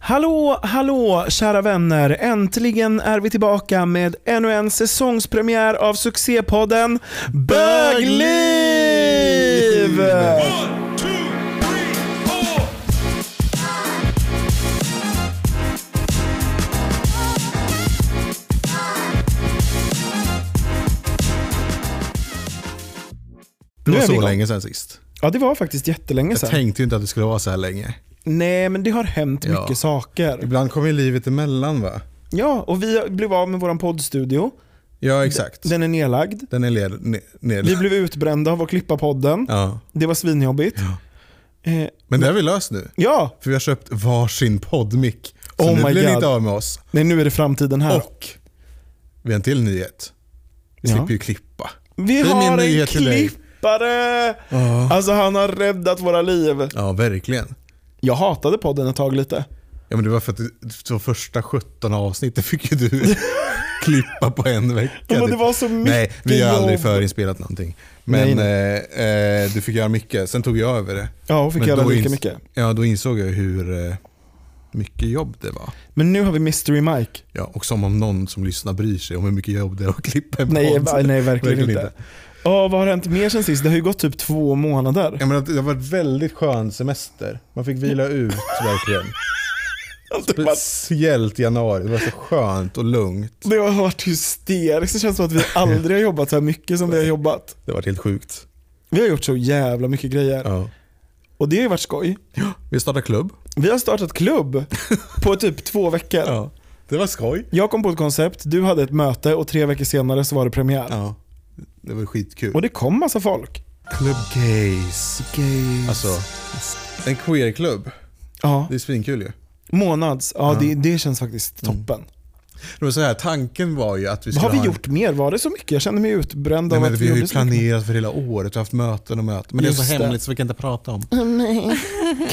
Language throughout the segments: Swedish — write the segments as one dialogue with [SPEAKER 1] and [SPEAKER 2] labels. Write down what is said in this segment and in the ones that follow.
[SPEAKER 1] Hallå, hallå kära vänner! Äntligen är vi tillbaka med ännu en säsongspremiär av succépodden Bögliv!
[SPEAKER 2] Det
[SPEAKER 1] Nu
[SPEAKER 2] var
[SPEAKER 1] är vi
[SPEAKER 2] så
[SPEAKER 1] igång.
[SPEAKER 2] länge sedan sist.
[SPEAKER 1] Ja, det var faktiskt jättelänge
[SPEAKER 2] Jag
[SPEAKER 1] sedan.
[SPEAKER 2] tänkte ju inte att det skulle vara så här länge.
[SPEAKER 1] Nej, men det har hänt
[SPEAKER 2] Ja.
[SPEAKER 1] mycket saker.
[SPEAKER 2] Ibland kommer ju livet emellan va?
[SPEAKER 1] Ja, och vi blev av med vår poddstudio.
[SPEAKER 2] Ja exakt. Den,
[SPEAKER 1] Den är nedlagd.
[SPEAKER 2] är led, ne,
[SPEAKER 1] Vi
[SPEAKER 2] nedlagd.
[SPEAKER 1] blev utbrända av att klippa podden.
[SPEAKER 2] Ja.
[SPEAKER 1] Det var svinjobbigt. Eh,
[SPEAKER 2] Men det har vi löst nu.
[SPEAKER 1] ja,
[SPEAKER 2] För vi har köpt varsin poddmick. Så
[SPEAKER 1] Oh
[SPEAKER 2] nu
[SPEAKER 1] my
[SPEAKER 2] blir
[SPEAKER 1] God.
[SPEAKER 2] ni inte av med oss.
[SPEAKER 1] nej nu är det framtiden här.
[SPEAKER 2] Och vi har en till nyhet. Vi
[SPEAKER 1] Ja.
[SPEAKER 2] slipper ju klippa.
[SPEAKER 1] Vi
[SPEAKER 2] Det är min
[SPEAKER 1] har en
[SPEAKER 2] nyhet till dig.
[SPEAKER 1] klippare!
[SPEAKER 2] Ja.
[SPEAKER 1] Alltså han har räddat våra liv.
[SPEAKER 2] Ja, verkligen.
[SPEAKER 1] Jag hatade podden ett tag lite.
[SPEAKER 2] Ja, men det var för att du- de första 17 avsnitten fick ju du klippa på en vecka.
[SPEAKER 1] Ja, men det
[SPEAKER 2] typ.
[SPEAKER 1] var så mycket
[SPEAKER 2] Nej, vi har aldrig
[SPEAKER 1] jobb.
[SPEAKER 2] förinspelat någonting. Men
[SPEAKER 1] Nej,
[SPEAKER 2] Eh, eh, du fick göra mycket, sen tog jag över det.
[SPEAKER 1] Ja, och fick
[SPEAKER 2] Men
[SPEAKER 1] göra
[SPEAKER 2] då
[SPEAKER 1] lika
[SPEAKER 2] ins-
[SPEAKER 1] mycket.
[SPEAKER 2] Ja, då insåg jag hur eh, mycket jobb det var.
[SPEAKER 1] Men nu har vi Mystery Mike.
[SPEAKER 2] Ja, och som om någon som lyssnar bryr sig om hur mycket jobb det är att klippa en
[SPEAKER 1] Nej,
[SPEAKER 2] podd.
[SPEAKER 1] va- nej verkligen inte. Ja, vad har hänt mer sen sist? Det har ju gått typ två månader.
[SPEAKER 2] Jag menar, det har varit väldigt skön semester. Man fick vila ut verkligen. Speciellt januari, det var så skönt och lugnt.
[SPEAKER 1] Det har varit hysteriskt. Det känns som att vi aldrig har jobbat så här mycket som vi har jobbat.
[SPEAKER 2] Det var helt sjukt.
[SPEAKER 1] Vi har gjort så jävla mycket grejer.
[SPEAKER 2] Ja.
[SPEAKER 1] Och det har ju varit skoj.
[SPEAKER 2] Vi startade klubb.
[SPEAKER 1] Vi har startat klubb på typ två veckor.
[SPEAKER 2] Ja. Det var skoj.
[SPEAKER 1] Jag kom på ett koncept, du hade ett möte och tre veckor senare så var det premiär.
[SPEAKER 2] Ja. Det var skitkul.
[SPEAKER 1] Och det kom massa folk.
[SPEAKER 2] Club Gays. Alltså, en queerklubb.
[SPEAKER 1] Ja.
[SPEAKER 2] Det är svinkul ju.
[SPEAKER 1] Månads, ja, Det, det känns faktiskt toppen.
[SPEAKER 2] Det var så här, tanken var ju att Mm. vi skulle
[SPEAKER 1] Har vi
[SPEAKER 2] ha en...
[SPEAKER 1] gjort mer? Var det så mycket? Jag kände mig utbränd
[SPEAKER 2] Nej,
[SPEAKER 1] av
[SPEAKER 2] men
[SPEAKER 1] att
[SPEAKER 2] vi har ju
[SPEAKER 1] gjorde så mycket.
[SPEAKER 2] planerat för hela året och haft möten och möten. Men det är
[SPEAKER 1] Just
[SPEAKER 2] så
[SPEAKER 1] det.
[SPEAKER 2] hemligt så vi kan inte prata om.
[SPEAKER 1] Nej.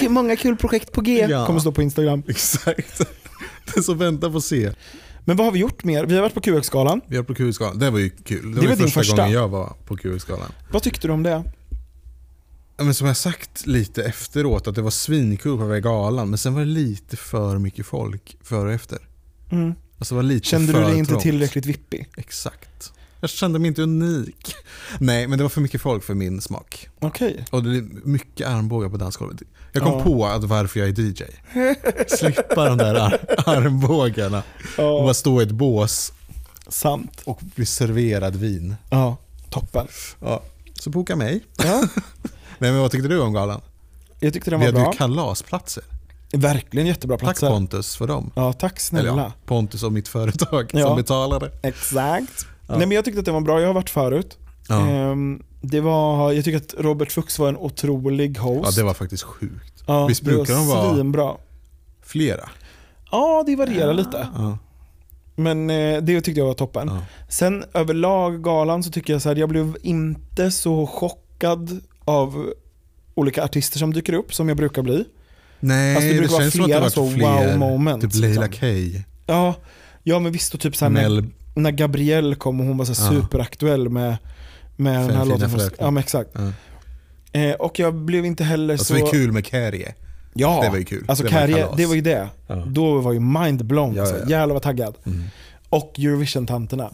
[SPEAKER 1] Många kul projekt på G.
[SPEAKER 2] Ja.
[SPEAKER 1] Kommer stå på Instagram.
[SPEAKER 2] Exakt. Den som väntar får se.
[SPEAKER 1] Men vad har vi gjort mer? Vi har varit på QX-galan.
[SPEAKER 2] Vi var på QX-galan. Det var ju kul. Det,
[SPEAKER 1] var
[SPEAKER 2] var ju
[SPEAKER 1] din
[SPEAKER 2] första,
[SPEAKER 1] första.
[SPEAKER 2] gången jag var på QX-galan.
[SPEAKER 1] Vad tyckte du om det?
[SPEAKER 2] Ja, Men som jag sagt lite efteråt att det var svinkul på galan men sen var det lite för mycket folk före och efter.
[SPEAKER 1] Mm.
[SPEAKER 2] Alltså det var lite
[SPEAKER 1] Kände
[SPEAKER 2] för
[SPEAKER 1] du dig inte
[SPEAKER 2] trångt.
[SPEAKER 1] tillräckligt vippig?
[SPEAKER 2] Exakt. Jag kände mig inte unik. Nej, men det var för mycket folk för min smak.
[SPEAKER 1] Okej.
[SPEAKER 2] Och det är mycket armbågar på dansgolvet. Jag kom
[SPEAKER 1] Ja.
[SPEAKER 2] på att varför jag är DJ. Slippa de där ar- armbågarna och
[SPEAKER 1] Ja,
[SPEAKER 2] bara stå i ett bås
[SPEAKER 1] sant.
[SPEAKER 2] och bli serverad vin.
[SPEAKER 1] Ja, toppen.
[SPEAKER 2] Ja. Så boka mig.
[SPEAKER 1] Ja.
[SPEAKER 2] Nej, men vad tyckte du om galan?
[SPEAKER 1] Jag tyckte den
[SPEAKER 2] Vi
[SPEAKER 1] var
[SPEAKER 2] hade
[SPEAKER 1] bra.
[SPEAKER 2] ju kalasplatser.
[SPEAKER 1] Verkligen jättebra
[SPEAKER 2] Tack
[SPEAKER 1] platser.
[SPEAKER 2] Pontus för dem.
[SPEAKER 1] Ja, tack
[SPEAKER 2] Eller
[SPEAKER 1] snälla.
[SPEAKER 2] ja, Pontus och mitt företag
[SPEAKER 1] Ja.
[SPEAKER 2] som betalade.
[SPEAKER 1] Exakt.
[SPEAKER 2] Ja.
[SPEAKER 1] Nej men jag tyckte att den var bra, jag har varit förut.
[SPEAKER 2] Ja.
[SPEAKER 1] Ehm, det var, jag tycker att Robert Fuchs var en otrolig host.
[SPEAKER 2] ja, det var faktiskt sjukt.
[SPEAKER 1] Ja,
[SPEAKER 2] Visst brukar de vara-
[SPEAKER 1] svinbra.
[SPEAKER 2] Flera.
[SPEAKER 1] Ja, det varierar lite.
[SPEAKER 2] Ja.
[SPEAKER 1] Men eh, det tyckte jag var toppen.
[SPEAKER 2] Ja.
[SPEAKER 1] Sen överlag galan så tycker jag så här, jag blev inte så chockad av olika artister som dyker upp som jag brukar bli.
[SPEAKER 2] Nej,
[SPEAKER 1] Alltså, det
[SPEAKER 2] det,
[SPEAKER 1] brukar vara
[SPEAKER 2] känns som att det
[SPEAKER 1] flera
[SPEAKER 2] har
[SPEAKER 1] så
[SPEAKER 2] varit fler.
[SPEAKER 1] wow moment,
[SPEAKER 2] Typ Leila
[SPEAKER 1] liksom.
[SPEAKER 2] K.
[SPEAKER 1] Ja, ja men visst och typ så här när,
[SPEAKER 2] Mel.
[SPEAKER 1] när Gabrielle kom och hon var så här
[SPEAKER 2] Ja.
[SPEAKER 1] superaktuell med, med den
[SPEAKER 2] Fem
[SPEAKER 1] här
[SPEAKER 2] fina
[SPEAKER 1] låten. Från,
[SPEAKER 2] fröknar.
[SPEAKER 1] ja men exakt.
[SPEAKER 2] Ja.
[SPEAKER 1] Eh, och jag blev inte heller
[SPEAKER 2] Alltså
[SPEAKER 1] så...
[SPEAKER 2] det var kul med Carrie.
[SPEAKER 1] Ja,
[SPEAKER 2] Det var ju kul.
[SPEAKER 1] Alltså
[SPEAKER 2] Det var ju
[SPEAKER 1] Carrie,
[SPEAKER 2] kalas.
[SPEAKER 1] det var ju det.
[SPEAKER 2] Ja.
[SPEAKER 1] Då var ju mind blown.
[SPEAKER 2] Ja,
[SPEAKER 1] alltså.
[SPEAKER 2] ja, Mm. ja.
[SPEAKER 1] Jävlar vad taggad. Och Eurovision-tanterna.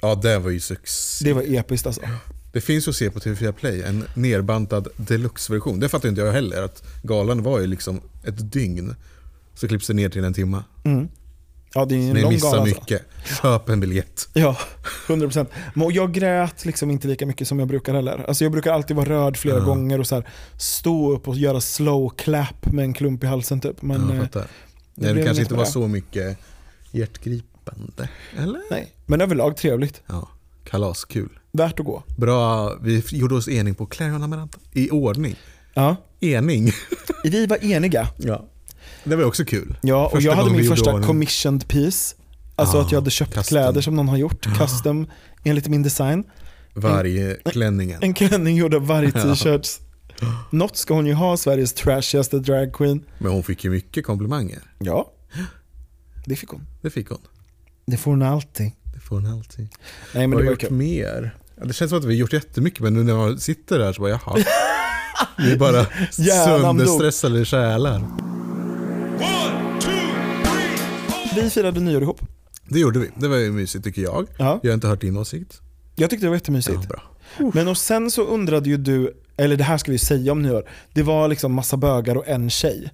[SPEAKER 2] Ja, det var ju succé.
[SPEAKER 1] Det var episkt alltså.
[SPEAKER 2] Det finns att se på TV4 Play, en nerbantad deluxe-version. Det fattar inte jag heller, att galan var ju liksom ett dygn. Så klipps det ner till en timma.
[SPEAKER 1] Mm. Ja, det är en
[SPEAKER 2] Ni
[SPEAKER 1] lång
[SPEAKER 2] missar
[SPEAKER 1] gala alltså.
[SPEAKER 2] mycket. Köp en biljett.
[SPEAKER 1] Ja, 100%. Men och jag grät liksom inte lika mycket som jag brukar heller. Alltså jag brukar alltid vara röd flera
[SPEAKER 2] Ja.
[SPEAKER 1] gånger och så här, stå upp och göra slow clap med en klump i halsen typ. Men
[SPEAKER 2] Ja, jag
[SPEAKER 1] eh,
[SPEAKER 2] fattar.
[SPEAKER 1] det
[SPEAKER 2] Nej,
[SPEAKER 1] blev
[SPEAKER 2] det kanske
[SPEAKER 1] inget
[SPEAKER 2] inte
[SPEAKER 1] med
[SPEAKER 2] var
[SPEAKER 1] det.
[SPEAKER 2] så mycket hjärtgripande. Eller?
[SPEAKER 1] nej. Men överlag trevligt.
[SPEAKER 2] Ja, kalaskul.
[SPEAKER 1] Värt att gå.
[SPEAKER 2] Bra, vi gjorde oss ening på Clarion Amaranta. I ordning.
[SPEAKER 1] Ja.
[SPEAKER 2] Ening.
[SPEAKER 1] Vi var eniga.
[SPEAKER 2] Ja. Det var också kul.
[SPEAKER 1] Ja, och
[SPEAKER 2] Första
[SPEAKER 1] jag hade
[SPEAKER 2] gången
[SPEAKER 1] min
[SPEAKER 2] vi gjorde
[SPEAKER 1] första
[SPEAKER 2] ordning.
[SPEAKER 1] commissioned piece. Alltså
[SPEAKER 2] Ah,
[SPEAKER 1] att jag hade köpt
[SPEAKER 2] custom. Ah.
[SPEAKER 1] kläder som någon har gjort, custom, enligt min design.
[SPEAKER 2] Vargklänningen.
[SPEAKER 1] En klänning gjord av varje t-shirts. Något ska hon ju ha, Sveriges trashigaste drag queen.
[SPEAKER 2] Men hon fick ju mycket komplimanger.
[SPEAKER 1] Ja, det fick hon.
[SPEAKER 2] Det fick hon.
[SPEAKER 1] Det får hon alltid.
[SPEAKER 2] Det får hon alltid.
[SPEAKER 1] Nej men det var
[SPEAKER 2] Vad har vi
[SPEAKER 1] ju
[SPEAKER 2] gjort
[SPEAKER 1] kul.
[SPEAKER 2] mer? Ja, det känns som att vi har gjort jättemycket men nu när man sitter där så bara jaha. Vi är bara
[SPEAKER 1] Hjärnan dog.
[SPEAKER 2] sönderstressade själar.
[SPEAKER 3] One, two,
[SPEAKER 1] vi firade nyår ihop.
[SPEAKER 2] Det gjorde vi. Det var ju mysigt tycker jag.
[SPEAKER 1] Ja.
[SPEAKER 2] Jag har inte hört din åsikt.
[SPEAKER 1] Jag tyckte det var jättemysigt.
[SPEAKER 2] Ja, bra.
[SPEAKER 1] Men och sen så undrade ju du, eller det här ska vi ju säga om nyår, det var liksom massa bögar och en tjej.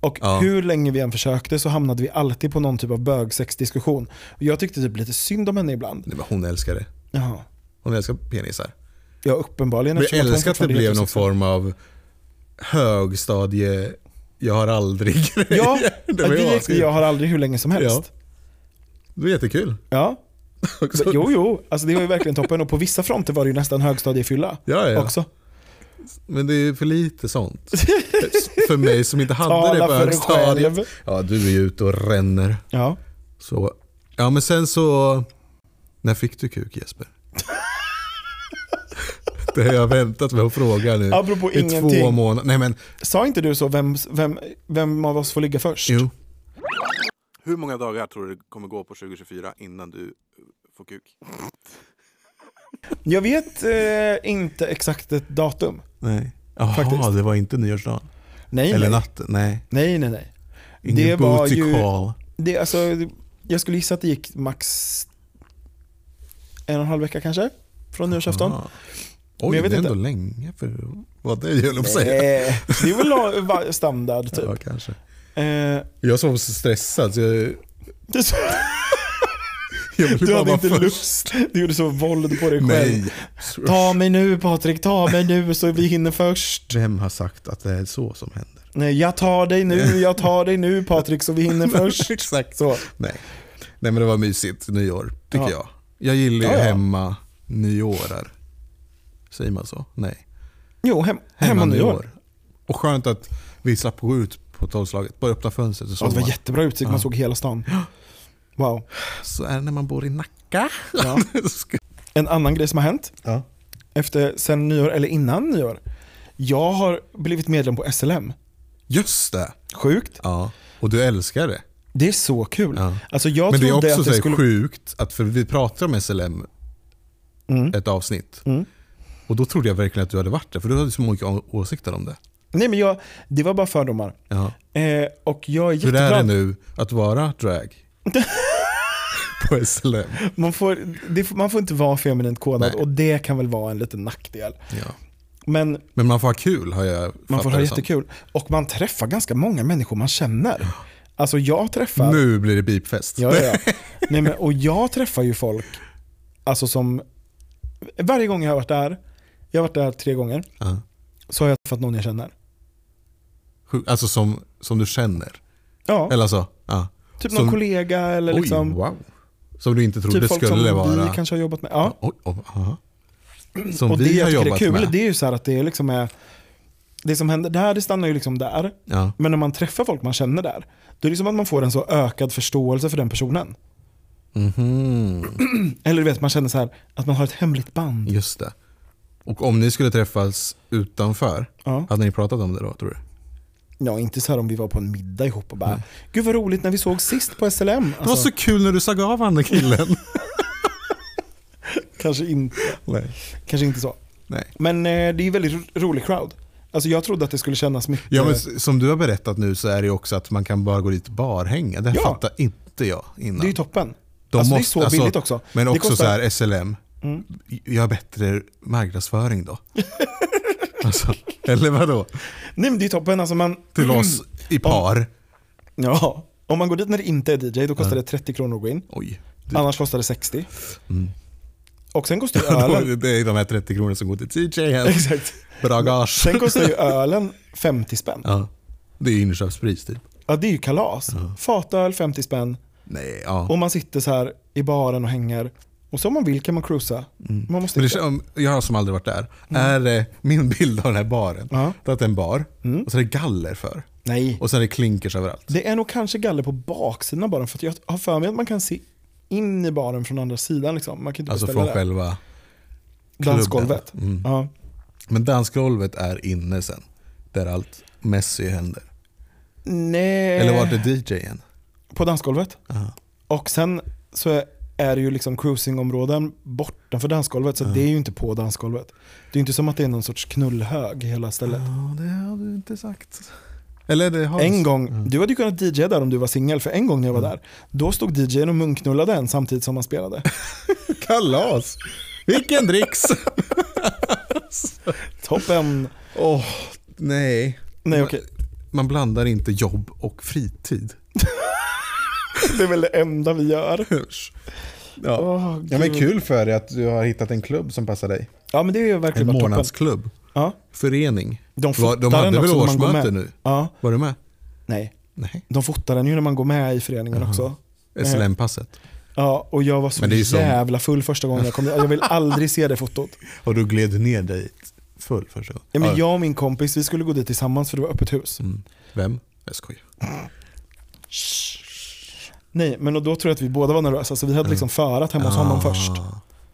[SPEAKER 1] Och
[SPEAKER 2] Ja.
[SPEAKER 1] hur länge vi än försökte så hamnade vi alltid på någon typ av bögsexdiskussion. Och jag tyckte typ lite synd om henne ibland.
[SPEAKER 2] Det var, hon älskar det.
[SPEAKER 1] Jaha.
[SPEAKER 2] Hon älskar penisar.
[SPEAKER 1] Ja, uppenbarligen.
[SPEAKER 2] Men
[SPEAKER 1] eftersom
[SPEAKER 2] jag
[SPEAKER 1] hon
[SPEAKER 2] älskar att det
[SPEAKER 1] fortfarande
[SPEAKER 2] blev
[SPEAKER 1] heter
[SPEAKER 2] någon
[SPEAKER 1] sex-
[SPEAKER 2] form av högstadie, jag har aldrig
[SPEAKER 1] Ja,
[SPEAKER 2] det
[SPEAKER 1] att
[SPEAKER 2] var
[SPEAKER 1] vi gick
[SPEAKER 2] askul.
[SPEAKER 1] jag har aldrig hur länge som helst.
[SPEAKER 2] Det var jättekul.
[SPEAKER 1] Ja.
[SPEAKER 2] Också.
[SPEAKER 1] Jo, jo. Alltså det var ju verkligen toppen. Och på vissa fronter var det ju nästan högstadiefylla
[SPEAKER 2] Ja, ja.
[SPEAKER 1] också.
[SPEAKER 2] Men det är för lite sånt. för mig som inte hade det
[SPEAKER 1] Tala
[SPEAKER 2] på
[SPEAKER 1] för dig
[SPEAKER 2] högstadiet.
[SPEAKER 1] själv.
[SPEAKER 2] Ja, du är ju ute och ränner.
[SPEAKER 1] Ja.
[SPEAKER 2] Så. Ja, men sen så... När fick du kuk Jesper? det har jag väntat med att fråga nu.
[SPEAKER 1] Apropå
[SPEAKER 2] I Eh, två
[SPEAKER 1] ingenting.
[SPEAKER 2] månader. Nej men,
[SPEAKER 1] Sa inte du så, vem, vem, vem av oss får ligga först?
[SPEAKER 2] jo.
[SPEAKER 3] Hur många dagar tror du det kommer gå på 2024 innan du eh, får kuk?
[SPEAKER 1] Jag vet eh, inte exakt ett datum.
[SPEAKER 2] Nej. Jaha,
[SPEAKER 1] Faktiskt.
[SPEAKER 2] det var inte nyårsdagen.
[SPEAKER 1] Nej,
[SPEAKER 2] Eller
[SPEAKER 1] nej.
[SPEAKER 2] natten. Nej.
[SPEAKER 1] nej, nej, nej.
[SPEAKER 2] Ingen
[SPEAKER 1] Det var
[SPEAKER 2] booty
[SPEAKER 1] ju-
[SPEAKER 2] call.
[SPEAKER 1] Det, alltså, jag skulle gissa att det gick max en och en halv vecka kanske, från nyårsafton. Eh,
[SPEAKER 2] Ah. Oj,
[SPEAKER 1] Men jag vet
[SPEAKER 2] det är
[SPEAKER 1] inte.
[SPEAKER 2] ändå länge för vad det är, jag höll jag på att säga.
[SPEAKER 1] Eh, det är väl la- va- standard typ.
[SPEAKER 2] Ja, kanske.
[SPEAKER 1] Eh,
[SPEAKER 2] Jag som var så stressad så jag,
[SPEAKER 1] det-
[SPEAKER 2] jag ville
[SPEAKER 1] du
[SPEAKER 2] bara
[SPEAKER 1] hade
[SPEAKER 2] vara
[SPEAKER 1] inte
[SPEAKER 2] först.
[SPEAKER 1] lust, du gjorde så våld på dig själv.
[SPEAKER 2] Nej.
[SPEAKER 1] Ta mig nu Patrik, ta mig nu så vi hinner först.
[SPEAKER 2] Vem har sagt att det är så som händer?
[SPEAKER 1] Nej, jag tar dig nu, jag tar dig nu Patrik så vi hinner först.
[SPEAKER 2] Exakt.
[SPEAKER 1] Så.
[SPEAKER 2] Nej. Nej men det var mysigt, nyår, tycker
[SPEAKER 1] Ja.
[SPEAKER 2] jag. Jag gillar ju
[SPEAKER 1] Ja, ja.
[SPEAKER 2] hemma nyårar. Säger man så? Nej.
[SPEAKER 1] Jo, hem, hemma nyår.
[SPEAKER 2] Och skönt att vi slapp gå ut på tolvslaget. Bara öppna fönstret och
[SPEAKER 1] Ja, det
[SPEAKER 2] sova.
[SPEAKER 1] var jättebra utsikt, man såg hela stan. Wow.
[SPEAKER 2] så är det när man bor i Nacka.
[SPEAKER 1] Ja. En annan grej som har hänt,
[SPEAKER 2] ja.
[SPEAKER 1] efter sen nyår, eller innan nyår. Jag har blivit medlem på SLM.
[SPEAKER 2] Just det.
[SPEAKER 1] Sjukt.
[SPEAKER 2] Ja. Och du älskar det.
[SPEAKER 1] Det är så kul.
[SPEAKER 2] Ja.
[SPEAKER 1] Alltså jag
[SPEAKER 2] Men det är
[SPEAKER 1] trodde
[SPEAKER 2] också
[SPEAKER 1] att
[SPEAKER 2] så
[SPEAKER 1] det
[SPEAKER 2] här
[SPEAKER 1] skulle...
[SPEAKER 2] sjukt, att för vi pratar om SLM
[SPEAKER 1] Mm.
[SPEAKER 2] ett avsnitt.
[SPEAKER 1] Mm.
[SPEAKER 2] Och då trodde jag verkligen att du hade varit där, för du hade så många å- åsikter om det.
[SPEAKER 1] Nej men jag, det var bara fördomar.
[SPEAKER 2] Ja.
[SPEAKER 1] Eh, och jag är
[SPEAKER 2] Hur är det
[SPEAKER 1] jätteglad.
[SPEAKER 2] nu att vara drag? på SLM.
[SPEAKER 1] Man får, det, får- man får inte vara feminint kodad
[SPEAKER 2] Nej.
[SPEAKER 1] och det kan väl vara en liten nackdel.
[SPEAKER 2] Ja.
[SPEAKER 1] Men
[SPEAKER 2] Men man får ha kul har jag
[SPEAKER 1] man får
[SPEAKER 2] fattat
[SPEAKER 1] ha
[SPEAKER 2] det som.
[SPEAKER 1] jättekul. Och man träffar ganska många människor man känner. Alltså jag träffar...
[SPEAKER 2] Nu blir det beepfest.
[SPEAKER 1] Ja, ja, ja. Nej, men, och jag träffar ju folk alltså som... Varje gång jag har varit där, jag har varit där tre gånger,
[SPEAKER 2] Ja.
[SPEAKER 1] så har jag träffat någon jag känner.
[SPEAKER 2] Sjukt. Alltså som, som du känner.
[SPEAKER 1] Ja,
[SPEAKER 2] Eller så. Ja.
[SPEAKER 1] typ någon
[SPEAKER 2] som-
[SPEAKER 1] kollega eller
[SPEAKER 2] Oj,
[SPEAKER 1] liksom,
[SPEAKER 2] wow. Som du inte trodde
[SPEAKER 1] typ folk
[SPEAKER 2] skulle
[SPEAKER 1] som vi
[SPEAKER 2] vara.
[SPEAKER 1] kanske har jobbat med. Ja.
[SPEAKER 2] Oj, oj, aha. Som
[SPEAKER 1] Mm. Och det
[SPEAKER 2] vi
[SPEAKER 1] jag
[SPEAKER 2] har
[SPEAKER 1] tycker är
[SPEAKER 2] jobbat
[SPEAKER 1] kul
[SPEAKER 2] med.
[SPEAKER 1] det är ju så här att det liksom är... Det som händer där, det stannar ju liksom där.
[SPEAKER 2] Ja.
[SPEAKER 1] Men när man träffar folk man känner där, då är det som att man får en så ökad förståelse för den personen.
[SPEAKER 2] Mhm.
[SPEAKER 1] Eller du vet, man känner så här att man har ett hemligt band.
[SPEAKER 2] Just det. Och om ni skulle träffas utanför,
[SPEAKER 1] Ja.
[SPEAKER 2] hade ni pratat om det då tror du?
[SPEAKER 1] Ja, inte så här om vi var på en middag ihop och bara Gud vad roligt när vi såg sist på SLM. Alltså,
[SPEAKER 2] Det var så kul när du såg av han den killen.
[SPEAKER 1] kanske, inte,
[SPEAKER 2] Nej.
[SPEAKER 1] kanske inte så.
[SPEAKER 2] Nej.
[SPEAKER 1] Men eh, det är ju väldigt ro- rolig crowd. Alltså jag trodde att det skulle kännas mycket.
[SPEAKER 2] Ja, men s- som du har berättat nu så är det ju också att man kan bara gå dit och barhänga. Det här
[SPEAKER 1] Ja.
[SPEAKER 2] fattar inte jag innan.
[SPEAKER 1] det är ju toppen.
[SPEAKER 2] De
[SPEAKER 1] alltså,
[SPEAKER 2] måste-
[SPEAKER 1] det är så
[SPEAKER 2] alltså,
[SPEAKER 1] billigt också.
[SPEAKER 2] Men
[SPEAKER 1] det
[SPEAKER 2] också
[SPEAKER 1] kostar- Mm.
[SPEAKER 2] så här SLM. Jag har bättre marknadsföring då. alltså, eller vadå?
[SPEAKER 1] Nej men det är toppen. Alltså, man,
[SPEAKER 2] Till oss i par.
[SPEAKER 1] Ja, om man går dit när det inte är DJ då kostar det 30 kronor att gå in.
[SPEAKER 2] Oj.
[SPEAKER 1] Annars kostar det 60. Och sen kostar ju ölen,
[SPEAKER 2] Mm. Då- Det är de här 30 kronorna som går till TJ.
[SPEAKER 1] exakt.
[SPEAKER 2] Bra gage.
[SPEAKER 1] Sen kostar ju ölen 50 spänn.
[SPEAKER 2] Ja. Det är inköpspris typ.
[SPEAKER 1] Ja, det är ju kalas. Fatöl 50 spänn
[SPEAKER 2] Nej, ja.
[SPEAKER 1] och man sitter så här i baren och hänger. Och så om man vill kan man cruisa. Man måste
[SPEAKER 2] Mm. Men det,
[SPEAKER 1] inte.
[SPEAKER 2] kän- jag som aldrig varit där. Är eh, min bild av den här baren,
[SPEAKER 1] Ja.
[SPEAKER 2] det är att det är en bar och så är det galler för.
[SPEAKER 1] Nej.
[SPEAKER 2] Och sen är det klinkers överallt.
[SPEAKER 1] Det är nog kanske galler på baksidan av baren för att jag har för mig att man kan se in i baren från andra sidan. Liksom. Man kan inte
[SPEAKER 2] Alltså
[SPEAKER 1] beställa
[SPEAKER 2] från
[SPEAKER 1] där.
[SPEAKER 2] själva... Mm.
[SPEAKER 1] Dansgolvet. Ja.
[SPEAKER 2] Men dansgolvet är inne sen. Där allt Messi händer.
[SPEAKER 1] Nej.
[SPEAKER 2] Eller vart är DJen?
[SPEAKER 1] På dansgolvet.
[SPEAKER 2] Ja.
[SPEAKER 1] Och sen så är- är det ju liksom cruisingområden bortanför dansgolvet så det är ju inte på dansgolvet. Det är ju inte som att det är någon sorts knullhög i hela stället.
[SPEAKER 2] Ja, det har du inte sagt. Eller det har
[SPEAKER 1] En gång,
[SPEAKER 2] Mm.
[SPEAKER 1] du hade ju kunnat DJa där om du var singel, för en gång när jag var där, då stod DJn och munknullade en samtidigt som man spelade.
[SPEAKER 2] Kalas! Vilken dricks!
[SPEAKER 1] Toppen!
[SPEAKER 2] Åh, nej.
[SPEAKER 1] Nej okej,
[SPEAKER 2] Man blandar inte jobb och fritid.
[SPEAKER 1] det är väl det enda vi gör.
[SPEAKER 2] Ja.
[SPEAKER 1] Åh,
[SPEAKER 2] ja, men
[SPEAKER 1] gud.
[SPEAKER 2] kul för dig att du har hittat en klubb som passar dig.
[SPEAKER 1] Ja men det är ju
[SPEAKER 2] En
[SPEAKER 1] verkligen bara Typ toppen.
[SPEAKER 2] månadsklubb.
[SPEAKER 1] Ja,
[SPEAKER 2] Förening.
[SPEAKER 1] de
[SPEAKER 2] Var,
[SPEAKER 1] fotar
[SPEAKER 2] de
[SPEAKER 1] den
[SPEAKER 2] hade väl
[SPEAKER 1] också när man går
[SPEAKER 2] årsmöte
[SPEAKER 1] med.
[SPEAKER 2] nu?
[SPEAKER 1] Ja,
[SPEAKER 2] Var du med?
[SPEAKER 1] nej.
[SPEAKER 2] Nej.
[SPEAKER 1] De fotar den ju när man går med i föreningen
[SPEAKER 2] Jaha.
[SPEAKER 1] också.
[SPEAKER 2] SLM-passet.
[SPEAKER 1] Ja, och jag var så
[SPEAKER 2] Men det är ju som-
[SPEAKER 1] jävla full första gången jag kom Jag vill aldrig se det fotot.
[SPEAKER 2] Och du gled ner dit full första gången.
[SPEAKER 1] Ja, men
[SPEAKER 2] Ja.
[SPEAKER 1] jag och min kompis, vi skulle gå dit tillsammans för det var öppet hus.
[SPEAKER 2] Mm. Vem? Jag skojar.
[SPEAKER 1] Nej, men och då tror jag att vi båda var nervösa så vi
[SPEAKER 2] Mm.
[SPEAKER 1] hade liksom förat hemma hos
[SPEAKER 2] Ah.
[SPEAKER 1] honom först.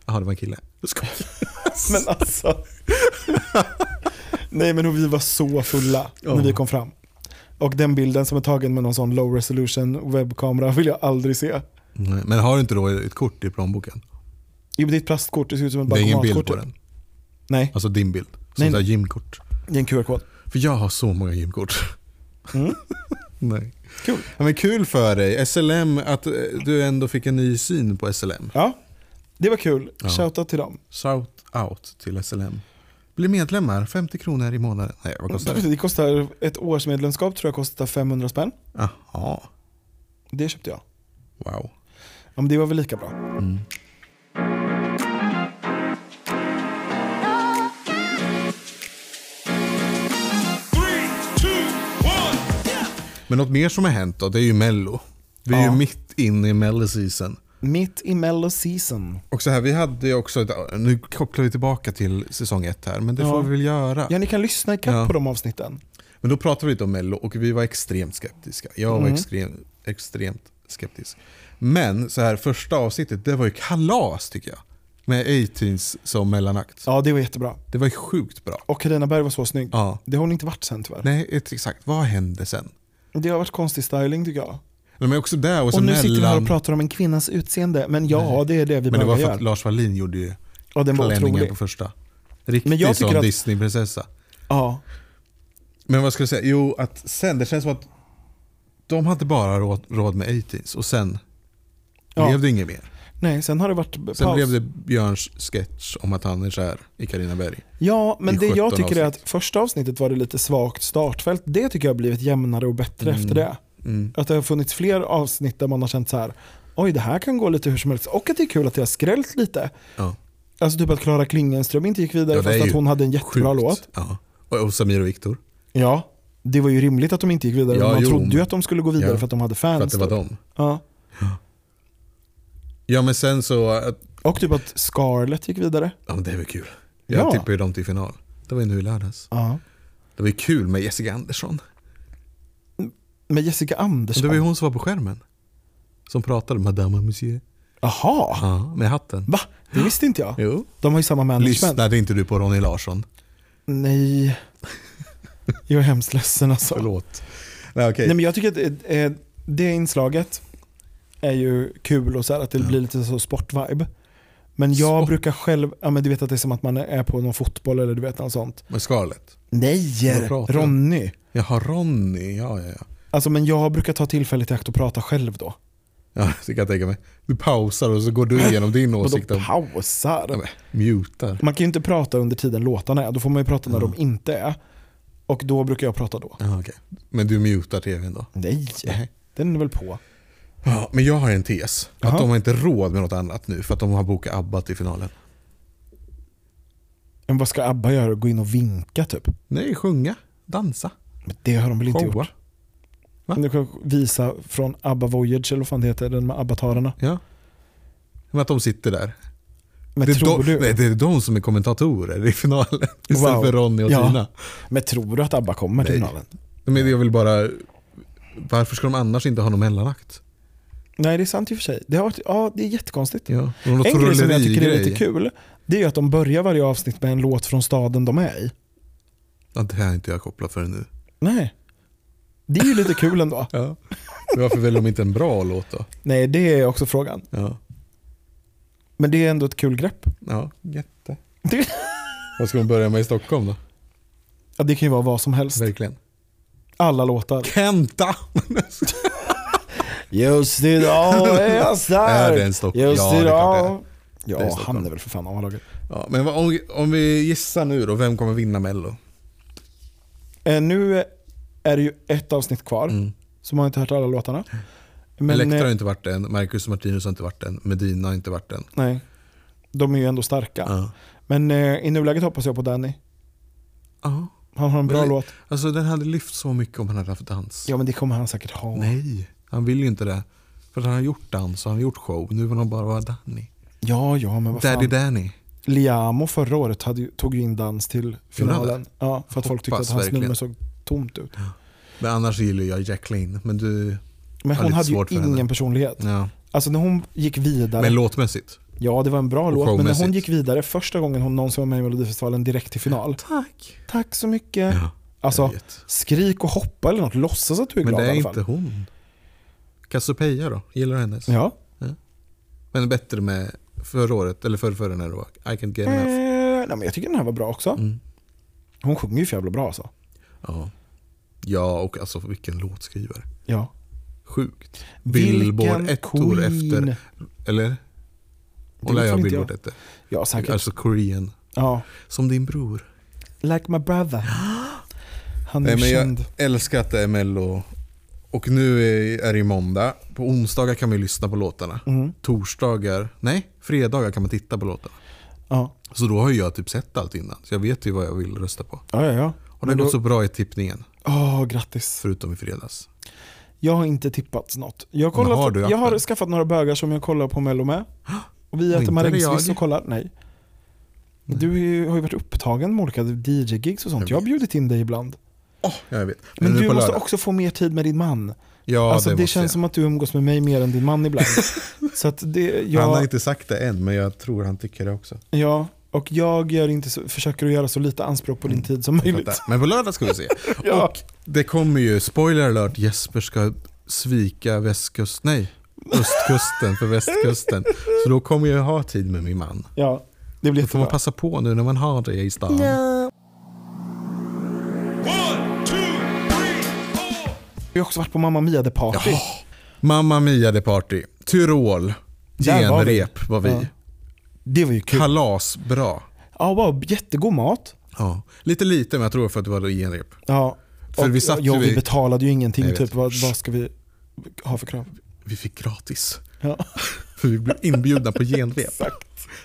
[SPEAKER 2] Jaha, det var en kille. Jag skojar.
[SPEAKER 1] Men alltså. Nej men och vi var så fulla
[SPEAKER 2] Ja.
[SPEAKER 1] när vi kom fram. Och den bilden som är tagen med någon sån low resolution webbkamera vill jag aldrig se.
[SPEAKER 2] Nej, Men har du inte då ett kort i plånboken?
[SPEAKER 1] Jo men det är ett plastkort, det ser ut som ett
[SPEAKER 2] Det är ingen bild
[SPEAKER 1] bankomatkort.
[SPEAKER 2] på den.
[SPEAKER 1] Nej,
[SPEAKER 2] Alltså din bild.
[SPEAKER 1] Nej.
[SPEAKER 2] Sånt där gymkort.
[SPEAKER 1] det är en QR-kod.
[SPEAKER 2] För jag har så många gymkort.
[SPEAKER 1] Mm.
[SPEAKER 2] Nej.
[SPEAKER 1] Kul.
[SPEAKER 2] Ja, men kul för dig. SLM, att eh, du ändå fick en ny syn på SLM.
[SPEAKER 1] Ja, det var kul.
[SPEAKER 2] Ja.
[SPEAKER 1] Shoutout till dem.
[SPEAKER 2] Shout out till SLM. Bli medlemmar, 50 kronor i månaden. Nej, vad kostar det?
[SPEAKER 1] Det kostar, ett årsmedlemskap tror jag kostar 500 spänn.
[SPEAKER 2] Jaha,
[SPEAKER 1] Det köpte jag.
[SPEAKER 2] Ah, wow.
[SPEAKER 1] Ja, men det var väl lika bra.
[SPEAKER 2] Men något mer som har hänt då, det är ju Mello. Vi är
[SPEAKER 1] Ja.
[SPEAKER 2] ju mitt inne i Mello-season.
[SPEAKER 1] Mitt i mello season.
[SPEAKER 2] Och så här, vi hade ju också, ett- nu kopplar vi tillbaka till säsong ett här, men det
[SPEAKER 1] Ja.
[SPEAKER 2] får vi väl göra.
[SPEAKER 1] Ja, ni kan lyssna ikapp
[SPEAKER 2] Ja.
[SPEAKER 1] på de avsnitten.
[SPEAKER 2] Men då pratade vi lite om Mello och vi var extremt skeptiska. Jag
[SPEAKER 1] Mm.
[SPEAKER 2] var extrem, extremt skeptisk. Men så här, första avsnittet, det var ju kalas tycker jag. Med A-Teens som mellanakt.
[SPEAKER 1] Ja, det var jättebra.
[SPEAKER 2] Det var ju sjukt bra.
[SPEAKER 1] Och Carina Berg var så snygg.
[SPEAKER 2] Ja.
[SPEAKER 1] Det har hon inte varit sen tyvärr.
[SPEAKER 2] Nej, ett- exakt. Vad hände sen?
[SPEAKER 1] Det har varit konstig styling tycker jag.
[SPEAKER 2] Men också där och, så
[SPEAKER 1] Och nu sitter vi här
[SPEAKER 2] mellan-
[SPEAKER 1] och pratar om en kvinnas utseende. Men ja, det är det vi
[SPEAKER 2] Men det var
[SPEAKER 1] behöver
[SPEAKER 2] för att
[SPEAKER 1] göra.
[SPEAKER 2] Lars Wallin gjorde ju
[SPEAKER 1] Ja, den var
[SPEAKER 2] klänningen
[SPEAKER 1] otrolig.
[SPEAKER 2] på första. Riktig
[SPEAKER 1] Men jag tycker
[SPEAKER 2] sån
[SPEAKER 1] att-
[SPEAKER 2] Disneyprinsessa.
[SPEAKER 1] Ja.
[SPEAKER 2] Men vad skulle jag säga? Jo, att sen, det känns som att de hade bara råd, råd med A-Teens och sen
[SPEAKER 1] Ja.
[SPEAKER 2] blev det inget mer.
[SPEAKER 1] Nej, sen har det varit paus.
[SPEAKER 2] Sen blev det Björns sketch om att han är kär i Carina Berg.
[SPEAKER 1] Ja, men
[SPEAKER 2] i
[SPEAKER 1] det
[SPEAKER 2] 17
[SPEAKER 1] jag tycker är att första avsnittet var det lite svagt startfält. Det tycker jag har blivit jämnare och bättre
[SPEAKER 2] Mm.
[SPEAKER 1] efter det. Att det har funnits fler avsnitt där man har känt så här, oj det här kan gå lite hur som helst. Och att det är kul att det har skrällt lite.
[SPEAKER 2] Ja.
[SPEAKER 1] Alltså typ att Klara Klingenström inte gick vidare
[SPEAKER 2] Ja, det är
[SPEAKER 1] fast
[SPEAKER 2] ju
[SPEAKER 1] att hon hade en jättebra
[SPEAKER 2] Sjukt.
[SPEAKER 1] låt.
[SPEAKER 2] Ja. Och, och Samir och Viktor.
[SPEAKER 1] Ja, det var ju rimligt att de inte gick vidare.
[SPEAKER 2] Ja,
[SPEAKER 1] men man
[SPEAKER 2] jo,
[SPEAKER 1] trodde ju
[SPEAKER 2] men-
[SPEAKER 1] att de skulle gå vidare
[SPEAKER 2] Ja,
[SPEAKER 1] för att de hade fans.
[SPEAKER 2] För att det var
[SPEAKER 1] då.
[SPEAKER 2] dem.
[SPEAKER 1] Ja.
[SPEAKER 2] Ja men sen så, eh, att,
[SPEAKER 1] Och typ att Scarlett gick vidare.
[SPEAKER 2] ja men det var kul. Jag
[SPEAKER 1] Ja.
[SPEAKER 2] tippar ju dem till final. Det var ju nu i lördags.
[SPEAKER 1] Ja.
[SPEAKER 2] Det var ju kul med Jessica Andersson.
[SPEAKER 1] Med Jessica
[SPEAKER 2] Det
[SPEAKER 1] Andersson.
[SPEAKER 2] var ju hon som var på skärmen. Som pratade, Madame och Monsieur.
[SPEAKER 1] Jaha,
[SPEAKER 2] Ja, med hatten.
[SPEAKER 1] va? Ah. Det visste inte jag.
[SPEAKER 2] Jo.
[SPEAKER 1] De har ju samma management.
[SPEAKER 2] Lyssnade inte du på Ronny Larsson?
[SPEAKER 1] Nej. Jag är hemskt ledsen alltså.
[SPEAKER 2] Förlåt. Nej, okej.
[SPEAKER 1] Nej, men jag tycker att eh, det inslaget är ju kul och så här, att det blir lite så sportvibe. Men jag
[SPEAKER 2] Sport.
[SPEAKER 1] brukar själv, ja, men du vet att det är som att man är på någon fotboll eller du vet något sånt.
[SPEAKER 2] Med Scarlett?
[SPEAKER 1] Nej,
[SPEAKER 2] Vad pratar du om?
[SPEAKER 1] Ronny.
[SPEAKER 2] Jaha, Ronny. Ja, ja, ja.
[SPEAKER 1] Alltså, men jag brukar ta tillfället i akt och prata själv då.
[SPEAKER 2] ja det kan jag tänka mig. Du pausar och så går du igenom din
[SPEAKER 1] Vadå
[SPEAKER 2] åsikt. Om, Ja,
[SPEAKER 1] pausar?
[SPEAKER 2] men, mutar.
[SPEAKER 1] Man kan ju inte prata under tiden låtarna är, då får man ju prata
[SPEAKER 2] Mm.
[SPEAKER 1] när de inte är. Och då brukar jag prata då.
[SPEAKER 2] Ja, okej. Men du mutar tvn då?
[SPEAKER 1] Nej,
[SPEAKER 2] Nej.
[SPEAKER 1] den är väl på.
[SPEAKER 2] Ja, men jag har en tes. Att
[SPEAKER 1] Jaha.
[SPEAKER 2] de har inte råd med något annat nu för att de har bokat ABBA till finalen.
[SPEAKER 1] Men vad ska ABBA göra? Gå in och vinka typ?
[SPEAKER 2] Nej, sjunga, dansa,
[SPEAKER 1] Men det har de väl inte
[SPEAKER 2] showa.
[SPEAKER 1] gjort? Du kan visa från ABBA Voyage eller vad fan det heter, den med ABBA-tararna.
[SPEAKER 2] Ja. Men att de sitter där.
[SPEAKER 1] Men
[SPEAKER 2] det, är
[SPEAKER 1] tror
[SPEAKER 2] de,
[SPEAKER 1] du?
[SPEAKER 2] Nej, det är de som är kommentatorer i finalen. Istället
[SPEAKER 1] Wow.
[SPEAKER 2] för Ronny och
[SPEAKER 1] Ja.
[SPEAKER 2] Tina.
[SPEAKER 1] Men tror du att ABBA kommer till
[SPEAKER 2] Nej.
[SPEAKER 1] finalen?
[SPEAKER 2] Men jag vill bara... Varför ska de annars inte ha någon mellanakt?
[SPEAKER 1] Nej, det är sant i och för sig. Det, har varit, ja, det är jättekonstigt.
[SPEAKER 2] Ja. och någon
[SPEAKER 1] en grej som jag tycker är
[SPEAKER 2] trollerigrej.
[SPEAKER 1] lite kul, det är ju att de börjar varje avsnitt med en låt från staden de är i.
[SPEAKER 2] Ja, det här har inte jag kopplat för nu.
[SPEAKER 1] Nej. Det är ju lite kul ändå.
[SPEAKER 2] Ja. Varför väljer de inte en bra låt då?
[SPEAKER 1] Nej, det är också frågan.
[SPEAKER 2] Ja,
[SPEAKER 1] Men det är ändå ett kul grepp.
[SPEAKER 2] ja jätte.
[SPEAKER 1] Det,
[SPEAKER 2] Vad ska de börja med i Stockholm då?
[SPEAKER 1] ja, det kan ju vara vad som helst.
[SPEAKER 2] Verkligen.
[SPEAKER 1] alla låtar.
[SPEAKER 2] Kenta!
[SPEAKER 1] Just idag är jag
[SPEAKER 2] Är det en
[SPEAKER 1] stark.
[SPEAKER 2] Stock-
[SPEAKER 1] Just
[SPEAKER 2] Ja, det är
[SPEAKER 1] idag.
[SPEAKER 2] klart Det är
[SPEAKER 1] Ja,
[SPEAKER 2] Stockholm.
[SPEAKER 1] han är väl för fan A-laget.
[SPEAKER 2] ja, men vad- om, om vi gissar nu då, vem kommer vinna mello?
[SPEAKER 1] Eh, nu är det ju ett avsnitt kvar,
[SPEAKER 2] Mm.
[SPEAKER 1] så man har inte hört alla låtarna. Men,
[SPEAKER 2] Elektra har
[SPEAKER 1] eh,
[SPEAKER 2] inte varit en, Marcus och Martinus har inte varit en, Medina har inte varit en.
[SPEAKER 1] nej, de är ju ändå starka.
[SPEAKER 2] Ja.
[SPEAKER 1] Men eh, i nuläget hoppas jag på Danny.
[SPEAKER 2] Ja.
[SPEAKER 1] Han har en bra
[SPEAKER 2] Men-
[SPEAKER 1] låt.
[SPEAKER 2] Alltså den hade lyft så mycket om han hade haft dans.
[SPEAKER 1] Ja men det kommer han säkert ha.
[SPEAKER 2] Nej, han vill ju inte det. För att han har gjort dans och han har gjort show. Nu vill han bara vara Danny.
[SPEAKER 1] Ja, ja men vad fan.
[SPEAKER 2] Daddy Danny.
[SPEAKER 1] Liamo förra året hade, ju- tog ju in dans till finalen. Ja, för att folk tyckte att
[SPEAKER 2] Hoppas
[SPEAKER 1] hans
[SPEAKER 2] verkligen.
[SPEAKER 1] nummer såg tomt ut.
[SPEAKER 2] Men annars gillar jag Jacqueline. Men du...
[SPEAKER 1] Men
[SPEAKER 2] Ja,
[SPEAKER 1] hon
[SPEAKER 2] lite
[SPEAKER 1] hade ju
[SPEAKER 2] svårt för
[SPEAKER 1] ingen
[SPEAKER 2] henne.
[SPEAKER 1] personlighet.
[SPEAKER 2] Ja.
[SPEAKER 1] Alltså när hon gick vidare,
[SPEAKER 2] Men låtmässigt.
[SPEAKER 1] ja det var en bra låt, men när hon
[SPEAKER 2] showmässigt.
[SPEAKER 1] gick vidare första gången hon någonsin var med i Melodifestivalen direkt till final.
[SPEAKER 2] Tack.
[SPEAKER 1] Tack så mycket.
[SPEAKER 2] Ja, jag
[SPEAKER 1] Alltså
[SPEAKER 2] vet.
[SPEAKER 1] skrik och hoppa eller något, låtsas att du är
[SPEAKER 2] Men
[SPEAKER 1] glad
[SPEAKER 2] det är
[SPEAKER 1] i alla
[SPEAKER 2] inte
[SPEAKER 1] fall.
[SPEAKER 2] hon. Cassiopeia då? Gillar du hennes?
[SPEAKER 1] Ja.
[SPEAKER 2] Men bättre med förra året, eller förra, förra när det var I can't get
[SPEAKER 1] Eh,
[SPEAKER 2] enough.
[SPEAKER 1] nej, men jag tycker den här var bra också.
[SPEAKER 2] Mm.
[SPEAKER 1] Hon sjunger ju för jävla bra alltså.
[SPEAKER 2] Ja. ja, och alltså vilken låtskrivare.
[SPEAKER 1] Ja.
[SPEAKER 2] Sjukt. Billboard
[SPEAKER 1] Vilken
[SPEAKER 2] ett år
[SPEAKER 1] queen.
[SPEAKER 2] efter. Eller?
[SPEAKER 1] vet
[SPEAKER 2] Hon lär ju ha
[SPEAKER 1] väl inte
[SPEAKER 2] Billboard efter.
[SPEAKER 1] Ja, säkert.
[SPEAKER 2] Alltså Korean.
[SPEAKER 1] Ja.
[SPEAKER 2] Som din bror.
[SPEAKER 1] Like my brother. Han är
[SPEAKER 2] Nej,
[SPEAKER 1] ju
[SPEAKER 2] men
[SPEAKER 1] känd.
[SPEAKER 2] jag älskar att det är mello. Och nu är- är det ju måndag. På onsdagar kan man ju lyssna på låtarna.
[SPEAKER 1] Mm.
[SPEAKER 2] Torsdagar, nej, fredagar kan man titta på låtarna.
[SPEAKER 1] Ja.
[SPEAKER 2] Så då har ju jag typ sett allt innan. Så jag vet ju vad jag vill rösta på.
[SPEAKER 1] ja, ja, ja.
[SPEAKER 2] Och det har
[SPEAKER 1] Men
[SPEAKER 2] gått
[SPEAKER 1] då-
[SPEAKER 2] så bra i tippningen.
[SPEAKER 1] Åh, grattis.
[SPEAKER 2] Förutom i fredags.
[SPEAKER 1] Jag har inte tippat något. Jag har,
[SPEAKER 2] Men
[SPEAKER 1] kollat,
[SPEAKER 2] har du
[SPEAKER 1] jag har
[SPEAKER 2] appen?
[SPEAKER 1] skaffat några bögar som jag kollar på Mello med. Och vi
[SPEAKER 2] Och
[SPEAKER 1] äter
[SPEAKER 2] inte
[SPEAKER 1] marängsviss
[SPEAKER 2] jag.
[SPEAKER 1] och kollar. Nej. Du är ju- har ju varit upptagen med olika DJ-gigs och sånt.
[SPEAKER 2] Jag
[SPEAKER 1] Jag har bjudit in dig ibland.
[SPEAKER 2] Åh, jag vet.
[SPEAKER 1] Men
[SPEAKER 2] nu
[SPEAKER 1] du
[SPEAKER 2] på
[SPEAKER 1] måste
[SPEAKER 2] lördag.
[SPEAKER 1] också få mer tid med din man.
[SPEAKER 2] Ja,
[SPEAKER 1] alltså, det,
[SPEAKER 2] det, måste
[SPEAKER 1] känns
[SPEAKER 2] jag.
[SPEAKER 1] som att du umgås med mig mer än din man ibland. så att det, jag,
[SPEAKER 2] Han har inte sagt det än, men jag tror han tycker det också.
[SPEAKER 1] ja, och jag gör inte så, försöker att göra så lite anspråk på
[SPEAKER 2] Mm.
[SPEAKER 1] din tid som möjligt.
[SPEAKER 2] Vänta, Men på lördag ska vi se.
[SPEAKER 1] Ja.
[SPEAKER 2] Och det kommer ju, spoiler alert, Jesper ska svika västkust, nej, östkusten för västkusten. Så då kommer jag ha tid med min man.
[SPEAKER 1] Ja, det blir
[SPEAKER 2] Då får man
[SPEAKER 1] jättebra.
[SPEAKER 2] passa på nu när man har det i stan.
[SPEAKER 4] One, two, three, four.
[SPEAKER 1] Vi har också varit på Mamma Mia The Party.
[SPEAKER 2] Mamma Mia the Party, Tyrol,
[SPEAKER 1] Där var vi.
[SPEAKER 2] genrep var vi.
[SPEAKER 1] Ja. Det var ju kul.
[SPEAKER 2] Kalasbra.
[SPEAKER 1] Ja, wow, jättegod mat.
[SPEAKER 2] Ja. Lite lite, men jag tror för att det var genrep.
[SPEAKER 1] Ja.
[SPEAKER 2] För
[SPEAKER 1] och,
[SPEAKER 2] vi satt
[SPEAKER 1] ja,
[SPEAKER 2] ju
[SPEAKER 1] vi
[SPEAKER 2] i-
[SPEAKER 1] betalade ju ingenting.
[SPEAKER 2] Nej, jag
[SPEAKER 1] typ,
[SPEAKER 2] vet.
[SPEAKER 1] vad, vad ska vi ha för krav?
[SPEAKER 2] Vi fick gratis.
[SPEAKER 1] Ja.
[SPEAKER 2] För vi blev inbjudna på genrep.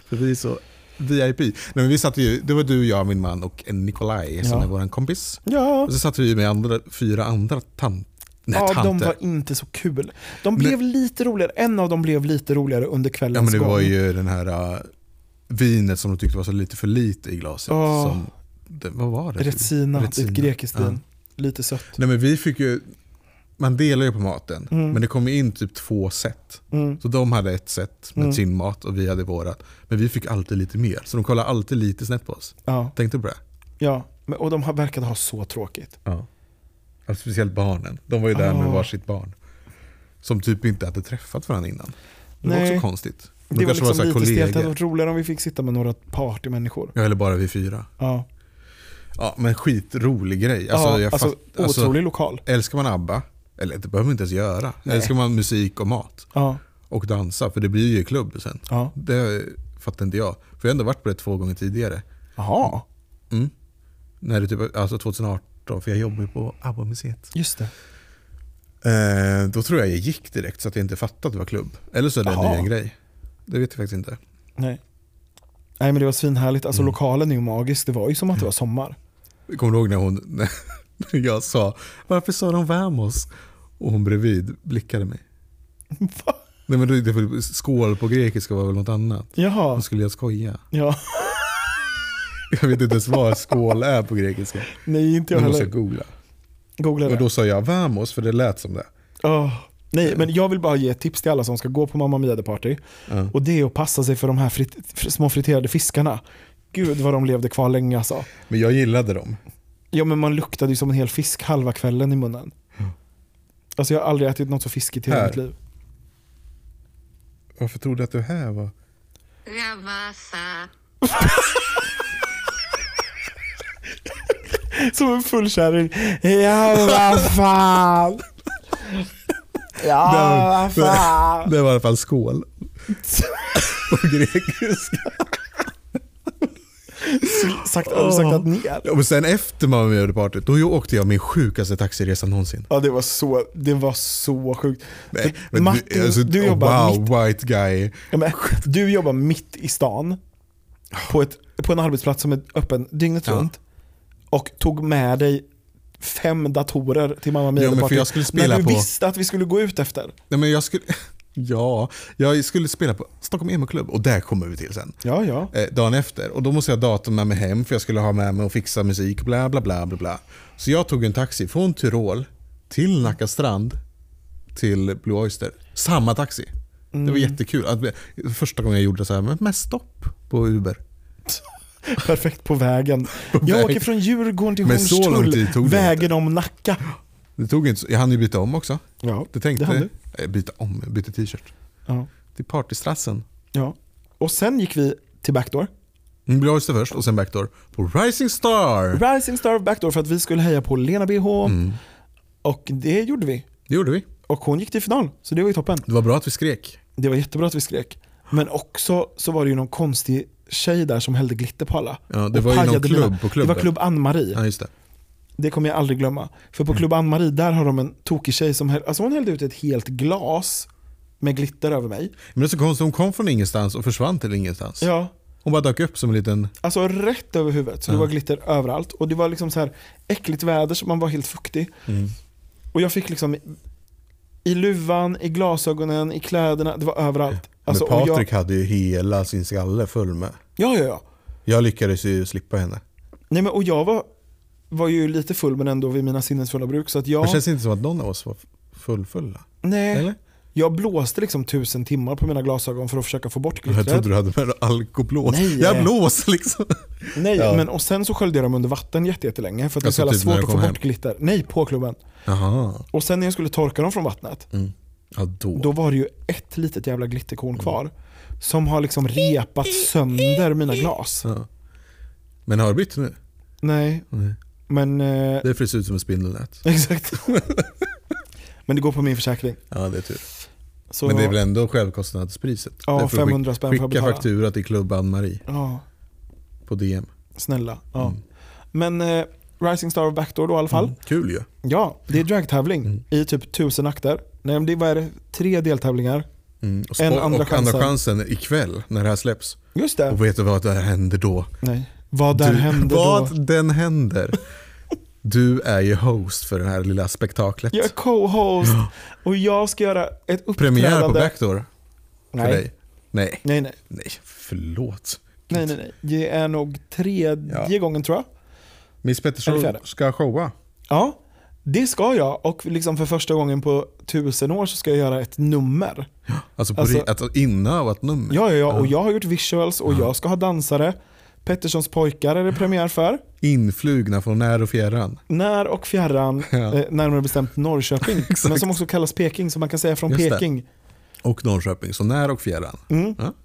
[SPEAKER 2] För vi är så VIP. Nej, men vi satt ju, det var du, jag, min man och en Nikolaj som
[SPEAKER 1] Ja.
[SPEAKER 2] är vår kompis.
[SPEAKER 1] ja.
[SPEAKER 2] Och så satt vi med andra, fyra andra tant, nej,
[SPEAKER 1] ja,
[SPEAKER 2] tanter.
[SPEAKER 1] de var inte så kul. De blev lite roligare. En av dem blev lite roligare under kvällens
[SPEAKER 2] ja, men det
[SPEAKER 1] gång.
[SPEAKER 2] var ju den här äh, vinet som de tyckte var så lite för lite i glaset.
[SPEAKER 1] Ja.
[SPEAKER 2] Som, det, vad var det?
[SPEAKER 1] Retsina, det är ett grekiskt
[SPEAKER 2] Ja.
[SPEAKER 1] vin. Lite sött.
[SPEAKER 2] Nej, men vi fick ju, man delar ju på maten, men det kom in typ två set.
[SPEAKER 1] Mm.
[SPEAKER 2] Så de hade ett set med sin mat och vi hade vårat. Men vi fick alltid lite mer, så de kollade alltid lite snett på oss.
[SPEAKER 1] Ja,
[SPEAKER 2] Tänkte du på det?
[SPEAKER 1] ja. Men- Och de har- verkade ha så tråkigt.
[SPEAKER 2] Ja. Alltså, speciellt barnen. De var ju där med
[SPEAKER 1] Ja.
[SPEAKER 2] varsitt barn. Som typ inte hade träffat varandra innan. Det var
[SPEAKER 1] Nej.
[SPEAKER 2] också konstigt. De
[SPEAKER 1] Det var
[SPEAKER 2] kanske
[SPEAKER 1] liksom
[SPEAKER 2] så här
[SPEAKER 1] lite stelt. Det hade
[SPEAKER 2] kollegor.
[SPEAKER 1] varit roligare om vi fick sitta med några partymänniskor.
[SPEAKER 2] Ja, eller bara vi fyra.
[SPEAKER 1] Ja.
[SPEAKER 2] Ja, men skitrolig grej. Alltså,
[SPEAKER 1] Alltså, ja,
[SPEAKER 2] jag
[SPEAKER 1] alltså,
[SPEAKER 2] fatt- alltså,
[SPEAKER 1] otrolig lokal.
[SPEAKER 2] Älskar man ABBA, eller det behöver man inte ens göra.
[SPEAKER 1] Nej.
[SPEAKER 2] Älskar man musik och mat
[SPEAKER 1] Ja.
[SPEAKER 2] och dansa, för det blir ju klubb sen.
[SPEAKER 1] Ja.
[SPEAKER 2] Det fattar inte jag. För jag har ändå varit på det två gånger tidigare.
[SPEAKER 1] Jaha,
[SPEAKER 2] Mm. När det typ, alltså 2018, för jag jobbar ju på ABBA-museet.
[SPEAKER 1] just det.
[SPEAKER 2] Eh, då tror jag jag gick direkt så att jag inte fattade att det var klubb. Eller så är det en
[SPEAKER 1] Jaha.
[SPEAKER 2] ny en grej. Det vet jag faktiskt inte.
[SPEAKER 1] Nej. Nej men det var svinhärligt.
[SPEAKER 2] Mm.
[SPEAKER 1] Alltså lokalen är ju magisk. Det var ju som att det var sommar.
[SPEAKER 2] Kommer du ihåg när hon, när jag sa “Varför sa de vamos?” och hon bredvid blickade mig.
[SPEAKER 1] Va?
[SPEAKER 2] Nej men det det var skål på grekiska var väl något annat.
[SPEAKER 1] Jaha.
[SPEAKER 2] Hon skulle jag skoja.
[SPEAKER 1] Ja.
[SPEAKER 2] Jag vet inte ens vad skål är på grekiska.
[SPEAKER 1] Nej inte jag
[SPEAKER 2] Nu måste jag
[SPEAKER 1] heller.
[SPEAKER 2] googla.
[SPEAKER 1] Googla
[SPEAKER 2] Och
[SPEAKER 1] det.
[SPEAKER 2] då sa jag vamos för det lät som det.
[SPEAKER 1] Åh. Nej men jag vill bara ge ett tips till alla som ska gå på Mamma Mia The Party.
[SPEAKER 2] Ja.
[SPEAKER 1] Och det är att passa sig för de här frit, fr- små friterade fiskarna. Gud vad de levde kvar länge alltså.
[SPEAKER 2] Men jag gillade dem.
[SPEAKER 1] Ja men man luktade ju som en hel fisk halva kvällen i munnen. Alltså jag har aldrig ätit något så fiskigt i hela
[SPEAKER 2] Mm. Här.
[SPEAKER 1] mitt liv.
[SPEAKER 2] Varför trodde du att du här var?
[SPEAKER 5] Gravassa.
[SPEAKER 1] Som en full kärring. Ja, vad fan. Ja, vad fan.
[SPEAKER 2] Det var i alla fall skål. På grekiska.
[SPEAKER 1] Sagt, har du sagt att ner?
[SPEAKER 2] Och sen efter man var med i partyt, då åkte jag min sjukaste taxiresa någonsin.
[SPEAKER 1] Ja, det var så, det var så sjukt.
[SPEAKER 2] Nej,
[SPEAKER 1] För
[SPEAKER 2] men
[SPEAKER 1] Martin, du,
[SPEAKER 2] alltså, oh,
[SPEAKER 1] jobbar
[SPEAKER 2] Wow,
[SPEAKER 1] mitt,
[SPEAKER 2] white guy.
[SPEAKER 1] ja, men, du jobbar mitt i stan på, ett, på en arbetsplats som är öppen dygnet
[SPEAKER 2] Ja.
[SPEAKER 1] runt och tog med dig fem datorer till Mamma Mia
[SPEAKER 2] Ja, men
[SPEAKER 1] party
[SPEAKER 2] för jag skulle spela
[SPEAKER 1] när du
[SPEAKER 2] på-
[SPEAKER 1] visste att vi skulle gå ut efter.
[SPEAKER 2] Nej, men jag skulle... Ja, jag skulle spela på Stockholm Emo-klubb och där kommer vi till sen.
[SPEAKER 1] Ja, ja.
[SPEAKER 2] eh, dagen efter. Och då måste jag ha datorn med mig hem för jag skulle ha med mig och fixa musik och bla bla bla bla bla. Så jag tog en taxi från Tyrol till Nacka strand till Blue Oyster. Samma taxi. Det
[SPEAKER 1] Mm.
[SPEAKER 2] var jättekul. Att- Första gången jag gjorde så här men med stopp på Uber.
[SPEAKER 1] Perfekt på vägen. Jag
[SPEAKER 2] vägen.
[SPEAKER 1] åker från Djurgården till
[SPEAKER 2] Men så lång
[SPEAKER 1] Hornstull,
[SPEAKER 2] tid tog det
[SPEAKER 1] vägen om Nacka.
[SPEAKER 2] Det tog inte så, jag hann ju byta om också.
[SPEAKER 1] Ja,
[SPEAKER 2] Du tänkte?
[SPEAKER 1] det hann du.
[SPEAKER 2] Eh, Byta om, jag bytte t-shirt.
[SPEAKER 1] Ja.
[SPEAKER 2] Till partystrassen.
[SPEAKER 1] ja. Och sen gick vi till Backdoor.
[SPEAKER 2] Mm, Blue Oyster först och sen Backdoor på Rising Star.
[SPEAKER 1] Rising Star Backdoor för att vi skulle heja på Lena BH.
[SPEAKER 2] Mm.
[SPEAKER 1] Och det gjorde vi.
[SPEAKER 2] Det gjorde vi.
[SPEAKER 1] Och hon gick till final, så det var ju toppen.
[SPEAKER 2] Det var bra att vi skrek.
[SPEAKER 1] Det var jättebra att vi skrek. Men också så var det ju någon konstig tjej där som hällde glitter på alla.
[SPEAKER 2] Ja, det
[SPEAKER 1] Och
[SPEAKER 2] var ju någon
[SPEAKER 1] pajade
[SPEAKER 2] klubb
[SPEAKER 1] mina-
[SPEAKER 2] på klubben.
[SPEAKER 1] Det var klubb Ann-Marie.
[SPEAKER 2] Ja, Mm. just det.
[SPEAKER 1] Det kommer jag aldrig glömma. För på klubb Ann-Marie, där har de en tokig tjej som häll, alltså hon hällde ut ett helt glas med glitter över mig.
[SPEAKER 2] Men det är så konstigt, hon kom från ingenstans och försvann till ingenstans.
[SPEAKER 1] Ja,
[SPEAKER 2] Hon bara dök upp som en liten...
[SPEAKER 1] Alltså rätt över huvudet, så det var glitter överallt. Och det var liksom så här äckligt väder så man var helt fuktig.
[SPEAKER 2] Mm.
[SPEAKER 1] Och jag fick liksom i- i luvan, i glasögonen, i kläderna, det var överallt. Alltså,
[SPEAKER 2] men
[SPEAKER 1] och
[SPEAKER 2] Patrik hade ju hela sin skalle full med.
[SPEAKER 1] Jag, ja, ja, ja.
[SPEAKER 2] Jag lyckades ju slippa henne.
[SPEAKER 1] Nej, men, och jag var, var ju lite full men ändå vid mina sinnesfulla bruk. Så att jag,
[SPEAKER 2] Det känns inte som att någon av oss var fullfulla.
[SPEAKER 1] nej,
[SPEAKER 2] Eller?
[SPEAKER 1] jag blåste liksom tusen timmar på mina glasögon för att försöka få bort
[SPEAKER 2] Jag
[SPEAKER 1] glittret.
[SPEAKER 2] trodde du hade med alkoblås.
[SPEAKER 1] Nej.
[SPEAKER 2] jag blås liksom.
[SPEAKER 1] Nej,
[SPEAKER 2] Ja.
[SPEAKER 1] men, och sen så sköljde jag dem under vatten jätte- jättelänge för att det är så
[SPEAKER 2] Alltså
[SPEAKER 1] jävla
[SPEAKER 2] typ när
[SPEAKER 1] svårt
[SPEAKER 2] du
[SPEAKER 1] att få
[SPEAKER 2] kom hem.
[SPEAKER 1] bort glitter. Nej, på klubben.
[SPEAKER 2] Jaha.
[SPEAKER 1] Och sen när jag skulle torka dem från vattnet,
[SPEAKER 2] Ja, då.
[SPEAKER 1] Då var det ju ett litet jävla glitterkorn
[SPEAKER 2] Mm.
[SPEAKER 1] kvar. Som har liksom repat sönder mina glas.
[SPEAKER 2] Ja. Men har du bytt nu?
[SPEAKER 1] Nej,
[SPEAKER 2] Nej.
[SPEAKER 1] men... Eh,
[SPEAKER 2] Det ser ut som ett spindelnät.
[SPEAKER 1] exakt. men det går på min försäkring.
[SPEAKER 2] Ja, det är tur.
[SPEAKER 1] Så,
[SPEAKER 2] Men det är väl ändå självkostnadspriset?
[SPEAKER 1] Ja,
[SPEAKER 2] Därför skick-
[SPEAKER 1] 500 spänn får jag
[SPEAKER 2] Skicka
[SPEAKER 1] betala.
[SPEAKER 2] faktura till klubb Ann-Marie
[SPEAKER 1] Ja,
[SPEAKER 2] på DM.
[SPEAKER 1] snälla. Ja.
[SPEAKER 2] Mm.
[SPEAKER 1] Men eh, Rising Star of Backdoor då i alla fall.
[SPEAKER 2] Kul ju.
[SPEAKER 1] Ja, det är dragtävling
[SPEAKER 2] Mm.
[SPEAKER 1] i typ tusen akter. Nej, men det var det, tre deltävlingar.
[SPEAKER 2] Mm. Och,
[SPEAKER 1] En andra
[SPEAKER 2] spo- och andra
[SPEAKER 1] chansen.
[SPEAKER 2] chansen ikväll när det här släpps.
[SPEAKER 1] Just det.
[SPEAKER 2] Och vet du vad det här händer då?
[SPEAKER 1] Nej. Vad där
[SPEAKER 2] du,
[SPEAKER 1] hände
[SPEAKER 2] vad
[SPEAKER 1] då?
[SPEAKER 2] den händer. Du är ju host för det här lilla spektaklet.
[SPEAKER 1] Jag är co-host och jag ska göra ett uppträdande.
[SPEAKER 2] Premiär på Backdoor för
[SPEAKER 1] Nej.
[SPEAKER 2] dig. Nej,
[SPEAKER 1] Nej, nej.
[SPEAKER 2] nej, förlåt.
[SPEAKER 1] Nej, nej, nej. Det är nog tredje
[SPEAKER 2] Ja.
[SPEAKER 1] gången tror jag.
[SPEAKER 2] Miss
[SPEAKER 1] Är det
[SPEAKER 2] Pettersson
[SPEAKER 1] fjärde?
[SPEAKER 2] ska showa.
[SPEAKER 1] Ja, det ska jag. Och liksom för första gången på tusen år så ska jag göra ett nummer.
[SPEAKER 2] Alltså, på
[SPEAKER 1] Alltså-
[SPEAKER 2] ri- alltså innan ett nummer.
[SPEAKER 1] Ja, ja, ja. Och jag har gjort visuals och jag ska ha dansare. Petterssons pojkar är det premiär för.
[SPEAKER 2] Influgna från när och fjärran.
[SPEAKER 1] När och fjärran,
[SPEAKER 2] Ja.
[SPEAKER 1] eh, närmare bestämt Norrköping.
[SPEAKER 2] Exakt.
[SPEAKER 1] men som också kallas Peking, så man kan säga från
[SPEAKER 2] Just det.
[SPEAKER 1] Peking.
[SPEAKER 2] Och Norrköping, så när och fjärran.
[SPEAKER 1] Mm.
[SPEAKER 2] Ja.
[SPEAKER 1] Eh, och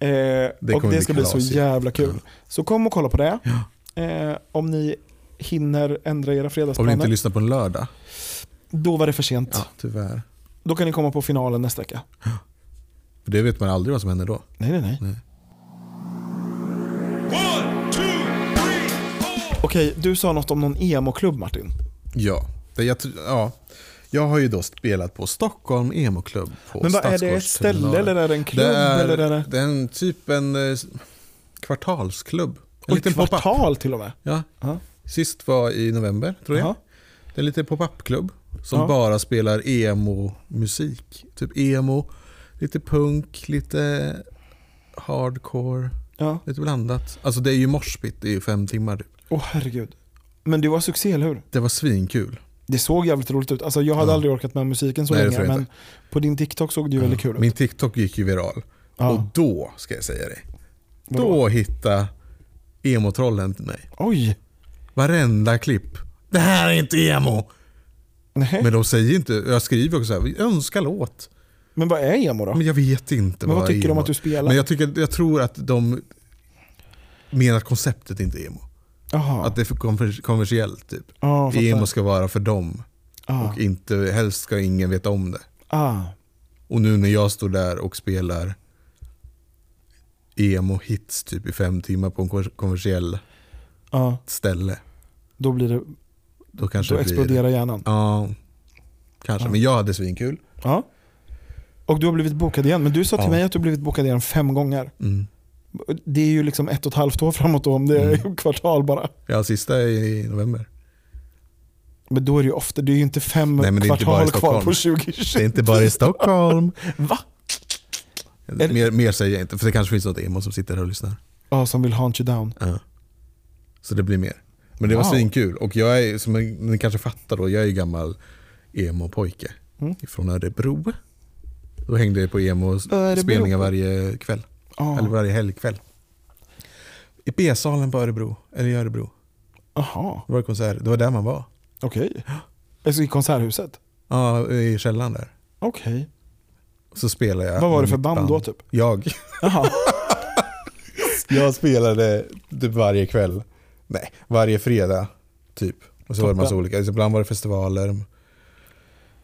[SPEAKER 2] kommer
[SPEAKER 1] det
[SPEAKER 2] bli
[SPEAKER 1] ska bli så
[SPEAKER 2] kalas ju.
[SPEAKER 1] jävla kul. Så kom och kolla på det. Eh, om ni hinner ändra era
[SPEAKER 2] Om ni
[SPEAKER 1] fredagsplaner.
[SPEAKER 2] inte lyssnar på en lördag.
[SPEAKER 1] Då var det för sent.
[SPEAKER 2] Ja, tyvärr.
[SPEAKER 1] Då kan ni komma på finalen nästa vecka.
[SPEAKER 2] För det vet man aldrig vad som händer då.
[SPEAKER 1] Nej, nej, nej.
[SPEAKER 4] One, two, three, four.
[SPEAKER 1] Okej, du sa något om någon emo-klubb Martin.
[SPEAKER 2] Ja, det, jag, tr- ja. jag har ju då spelat på Stockholm Emoklubb på
[SPEAKER 1] Men vad är det ett
[SPEAKER 2] Stadsgårdsterminalen.
[SPEAKER 1] ställe eller är det en klubb?
[SPEAKER 2] det är,
[SPEAKER 1] eller är det...
[SPEAKER 2] det är en typ en eh, s- kvartalsklubb. En
[SPEAKER 1] Och
[SPEAKER 2] liten
[SPEAKER 1] ett
[SPEAKER 2] pop-up.
[SPEAKER 1] kvartal till och med.
[SPEAKER 2] Ja.
[SPEAKER 1] Ja.
[SPEAKER 2] Sist var i november tror jag.
[SPEAKER 1] Jaha.
[SPEAKER 2] Det är en liten pop-up-klubb som
[SPEAKER 1] Ja.
[SPEAKER 2] bara spelar emo-musik. Typ emo, lite punk, lite hardcore,
[SPEAKER 1] Ja.
[SPEAKER 2] lite blandat. Alltså det är ju morsbit i fem timmar typ.
[SPEAKER 1] Åh herregud. Men det var succé, eller hur?
[SPEAKER 2] Det var svinkul.
[SPEAKER 1] Det såg jävligt roligt ut. Alltså, jag hade
[SPEAKER 2] Ja.
[SPEAKER 1] aldrig orkat med musiken så
[SPEAKER 2] Nej, det
[SPEAKER 1] länge,
[SPEAKER 2] tror jag
[SPEAKER 1] men
[SPEAKER 2] inte.
[SPEAKER 1] på din TikTok såg det ju väldigt kul ut.
[SPEAKER 2] Min TikTok gick ju viral.
[SPEAKER 1] Ja.
[SPEAKER 2] Och då, ska jag säga dig,
[SPEAKER 1] Vadå?
[SPEAKER 2] då hittade emotrollen till mig.
[SPEAKER 1] Oj!
[SPEAKER 2] Varenda klipp. Det här är inte emo!
[SPEAKER 1] Nej. Men,
[SPEAKER 2] Men de säger inte, jag skriver också så här, "Vi önskar låt.
[SPEAKER 1] vad är emo då?
[SPEAKER 2] Men jag vet inte
[SPEAKER 1] Men vad tycker de
[SPEAKER 2] emo
[SPEAKER 1] att du spelar?
[SPEAKER 2] Men jag, tycker, jag tror att de menar att konceptet inte är emo.
[SPEAKER 1] Jaha.
[SPEAKER 2] Att det är för konver- kommersiellt typ.
[SPEAKER 1] Ja, fattar.
[SPEAKER 2] emo ska vara för dem.
[SPEAKER 1] Ja.
[SPEAKER 2] Och inte, helst ska ingen veta om det.
[SPEAKER 1] Ah.
[SPEAKER 2] Och nu när jag står där och spelar emo-hits typ i fem timmar på en kor- kommersiell
[SPEAKER 1] Ja.
[SPEAKER 2] ställe.
[SPEAKER 1] Då blir det...
[SPEAKER 2] Då kanske
[SPEAKER 1] Då
[SPEAKER 2] det blir...
[SPEAKER 1] exploderar hjärnan.
[SPEAKER 2] Ja, kanske.
[SPEAKER 1] Ja.
[SPEAKER 2] Men jag hade svinkul.
[SPEAKER 1] Ja. Och du har blivit bokad igen. Men du sa till
[SPEAKER 2] Ja.
[SPEAKER 1] mig att du har blivit bokad igen fem gånger.
[SPEAKER 2] Mm.
[SPEAKER 1] Det är ju liksom ett och ett halvt år framåt då, om det är
[SPEAKER 2] Mm.
[SPEAKER 1] kvartal bara.
[SPEAKER 2] Ja, sista är i november.
[SPEAKER 1] Men då är det ju ofta, det är ju inte fem
[SPEAKER 2] Nej, men det är inte bara
[SPEAKER 1] kvartal
[SPEAKER 2] i
[SPEAKER 1] kvar
[SPEAKER 2] Stockholm.
[SPEAKER 1] på 2020.
[SPEAKER 2] Det är inte bara i Stockholm.
[SPEAKER 1] Va? det-
[SPEAKER 2] Mer, mer säger jag inte, för det kanske finns något emo som sitter här och lyssnar.
[SPEAKER 1] Ja, som vill haunt you down.
[SPEAKER 2] Ja. Så det blir mer. Men det var
[SPEAKER 1] Wow.
[SPEAKER 2] svinkul. Och jag är, som ni kanske fattar då, jag är ju gammal emo-pojke.
[SPEAKER 1] Mm.
[SPEAKER 2] Från Örebro. Då hängde jag på
[SPEAKER 1] Örebro.
[SPEAKER 2] emo-spelningar varje kväll.
[SPEAKER 1] Ja.
[SPEAKER 2] Eller varje helgkväll. I B-salen på Örebro, eller i Örebro.
[SPEAKER 1] Jaha,
[SPEAKER 2] Det var konsert, det var där man var.
[SPEAKER 1] okej. Alltså i konserthuset?
[SPEAKER 2] Ja, i källaren där.
[SPEAKER 1] Okej.
[SPEAKER 2] Så spelade jag.
[SPEAKER 1] Vad var det
[SPEAKER 2] med
[SPEAKER 1] för
[SPEAKER 2] Äh, mitt
[SPEAKER 1] band då, typ?
[SPEAKER 2] Jag.
[SPEAKER 1] Jaha.
[SPEAKER 2] Jag spelade typ varje kväll. Nej, varje fredag. Typ. Och så var det massa
[SPEAKER 1] Toppen.
[SPEAKER 2] olika. Alltså, Ibland var det festivaler.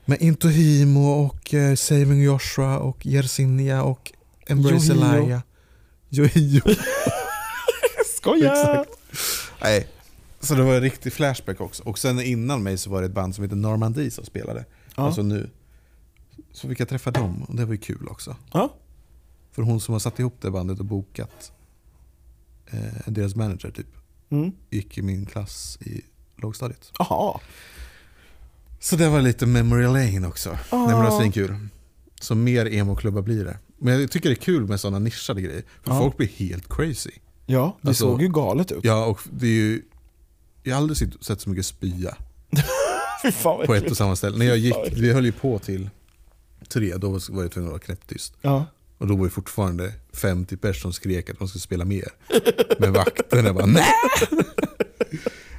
[SPEAKER 2] Men Intohimo och eh, Saving Joshua och Yersinia och Embrace
[SPEAKER 1] Yohio.
[SPEAKER 2] Elia. Yohio.
[SPEAKER 1] Skoja!
[SPEAKER 2] Exakt. Nej. Så det var en riktig flashback också. Och sen innan mig så var det ett band som heter Normandie som spelade.
[SPEAKER 1] Ja.
[SPEAKER 2] Alltså nu. Så fick jag träffa dem och det var ju kul också.
[SPEAKER 1] Ja.
[SPEAKER 2] För hon som har satt ihop det bandet och bokat eh, deras manager typ
[SPEAKER 1] Mm.
[SPEAKER 2] gick i min klass i lågstadiet.
[SPEAKER 1] Jaha.
[SPEAKER 2] Så det var lite memory lane också. Nej, men det var svinkul. Så mer emo-klubbar blir det. Men jag tycker det är kul med sådana nischade grejer. För
[SPEAKER 1] Ja.
[SPEAKER 2] folk blir helt crazy.
[SPEAKER 1] Ja, det
[SPEAKER 2] Alltså-
[SPEAKER 1] såg ju galet ut.
[SPEAKER 2] Ja, och det är ju... Jag har aldrig sett- sett så mycket spya
[SPEAKER 1] Fy fan vad
[SPEAKER 2] på ett
[SPEAKER 1] äckligt.
[SPEAKER 2] och samma ställe. När jag gick, vi höll ju på till tre, då var jag tvungen att vara knäpptyst.
[SPEAKER 1] Ja.
[SPEAKER 2] Och då var det fortfarande 50 personer som skrek att man skulle spela mer. Men vakterna bara nej.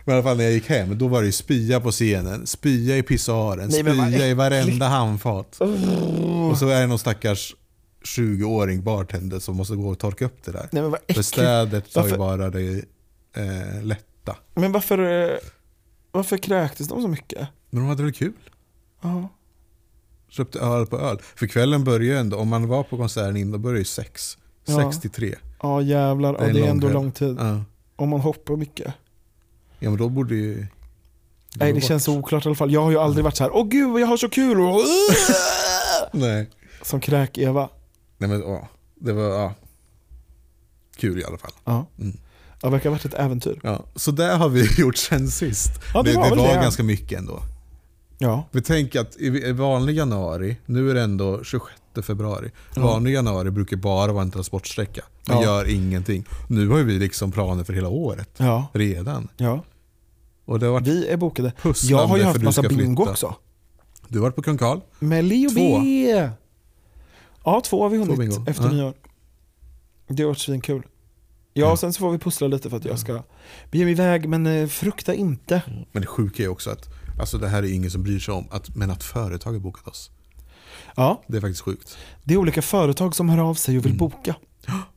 [SPEAKER 2] Men i alla fall när jag gick hem, då var det ju spya på scenen, spya i pissoaren,
[SPEAKER 1] Nej, men vad
[SPEAKER 2] spya i varenda handfat. Och så är det någon stackars 20-åring bartender som måste gå och torka upp det där.
[SPEAKER 1] Nej men vad
[SPEAKER 2] För
[SPEAKER 1] äckligt.
[SPEAKER 2] städet tar ju
[SPEAKER 1] Varför-
[SPEAKER 2] bara det eh, lätta.
[SPEAKER 1] Men varför, eh, varför kräktes de så mycket?
[SPEAKER 2] Men de hade väl kul?
[SPEAKER 1] Ja.
[SPEAKER 2] Köpte öl på öl. För kvällen börjar ju ändå, om man var på konserten innan, då börjar ju sex.
[SPEAKER 1] Ja.
[SPEAKER 2] Sex till tre.
[SPEAKER 1] Ja jävlar, det
[SPEAKER 2] är
[SPEAKER 1] är, ja,
[SPEAKER 2] en
[SPEAKER 1] det är
[SPEAKER 2] lång
[SPEAKER 1] ändå
[SPEAKER 2] kväll.
[SPEAKER 1] lång tid.
[SPEAKER 2] Ja.
[SPEAKER 1] Om man hoppar mycket.
[SPEAKER 2] Ja men då borde ju...
[SPEAKER 1] Nej det känns oklart i alla fall. Jag har ju aldrig varit så här. åh gud vad jag har så kul och
[SPEAKER 2] Nej.
[SPEAKER 1] Som kräk-Eva.
[SPEAKER 2] Nej men ja. Det var ja. kul i alla fall.
[SPEAKER 1] Ja.
[SPEAKER 2] Mm.
[SPEAKER 1] Ja, det verkar ha varit ett äventyr.
[SPEAKER 2] Ja, så där har vi gjort sen sist.
[SPEAKER 1] Ja, det
[SPEAKER 2] det,
[SPEAKER 1] var
[SPEAKER 2] det
[SPEAKER 1] väl
[SPEAKER 2] var
[SPEAKER 1] det.
[SPEAKER 2] ganska mycket ändå.
[SPEAKER 1] Ja.
[SPEAKER 2] Vi tänker att i i vanlig januari, nu är det ändå 26 februari. Vanlig januari brukar bara vara en transportsträcka. Vi
[SPEAKER 1] Ja.
[SPEAKER 2] gör ingenting. Nu har ju vi liksom planer för hela året
[SPEAKER 1] Ja.
[SPEAKER 2] redan.
[SPEAKER 1] Ja.
[SPEAKER 2] Och det har varit,
[SPEAKER 1] Vi är bokade.
[SPEAKER 2] Pusslande
[SPEAKER 1] Jag har ju
[SPEAKER 2] för
[SPEAKER 1] haft
[SPEAKER 2] du
[SPEAKER 1] massa
[SPEAKER 2] ska
[SPEAKER 1] bingo
[SPEAKER 2] flytta.
[SPEAKER 1] också.
[SPEAKER 2] du har varit på Kung Karl.
[SPEAKER 1] Med Leo
[SPEAKER 2] Två.
[SPEAKER 1] B. Ja, två har vi hunnit
[SPEAKER 2] bingo.
[SPEAKER 1] efter
[SPEAKER 2] Ja.
[SPEAKER 1] nyår. Det har varit svinkul. Ja, och sen så får vi pussla lite för att jag ska bege mig iväg, men eh, frukta inte.
[SPEAKER 2] Men det sjuka är också att alltså det här är ingen som bryr sig om, att, men att företag har bokat oss.
[SPEAKER 1] Ja,
[SPEAKER 2] Det är faktiskt sjukt.
[SPEAKER 1] det är olika företag som hör av sig och
[SPEAKER 2] Mm.
[SPEAKER 1] vill boka.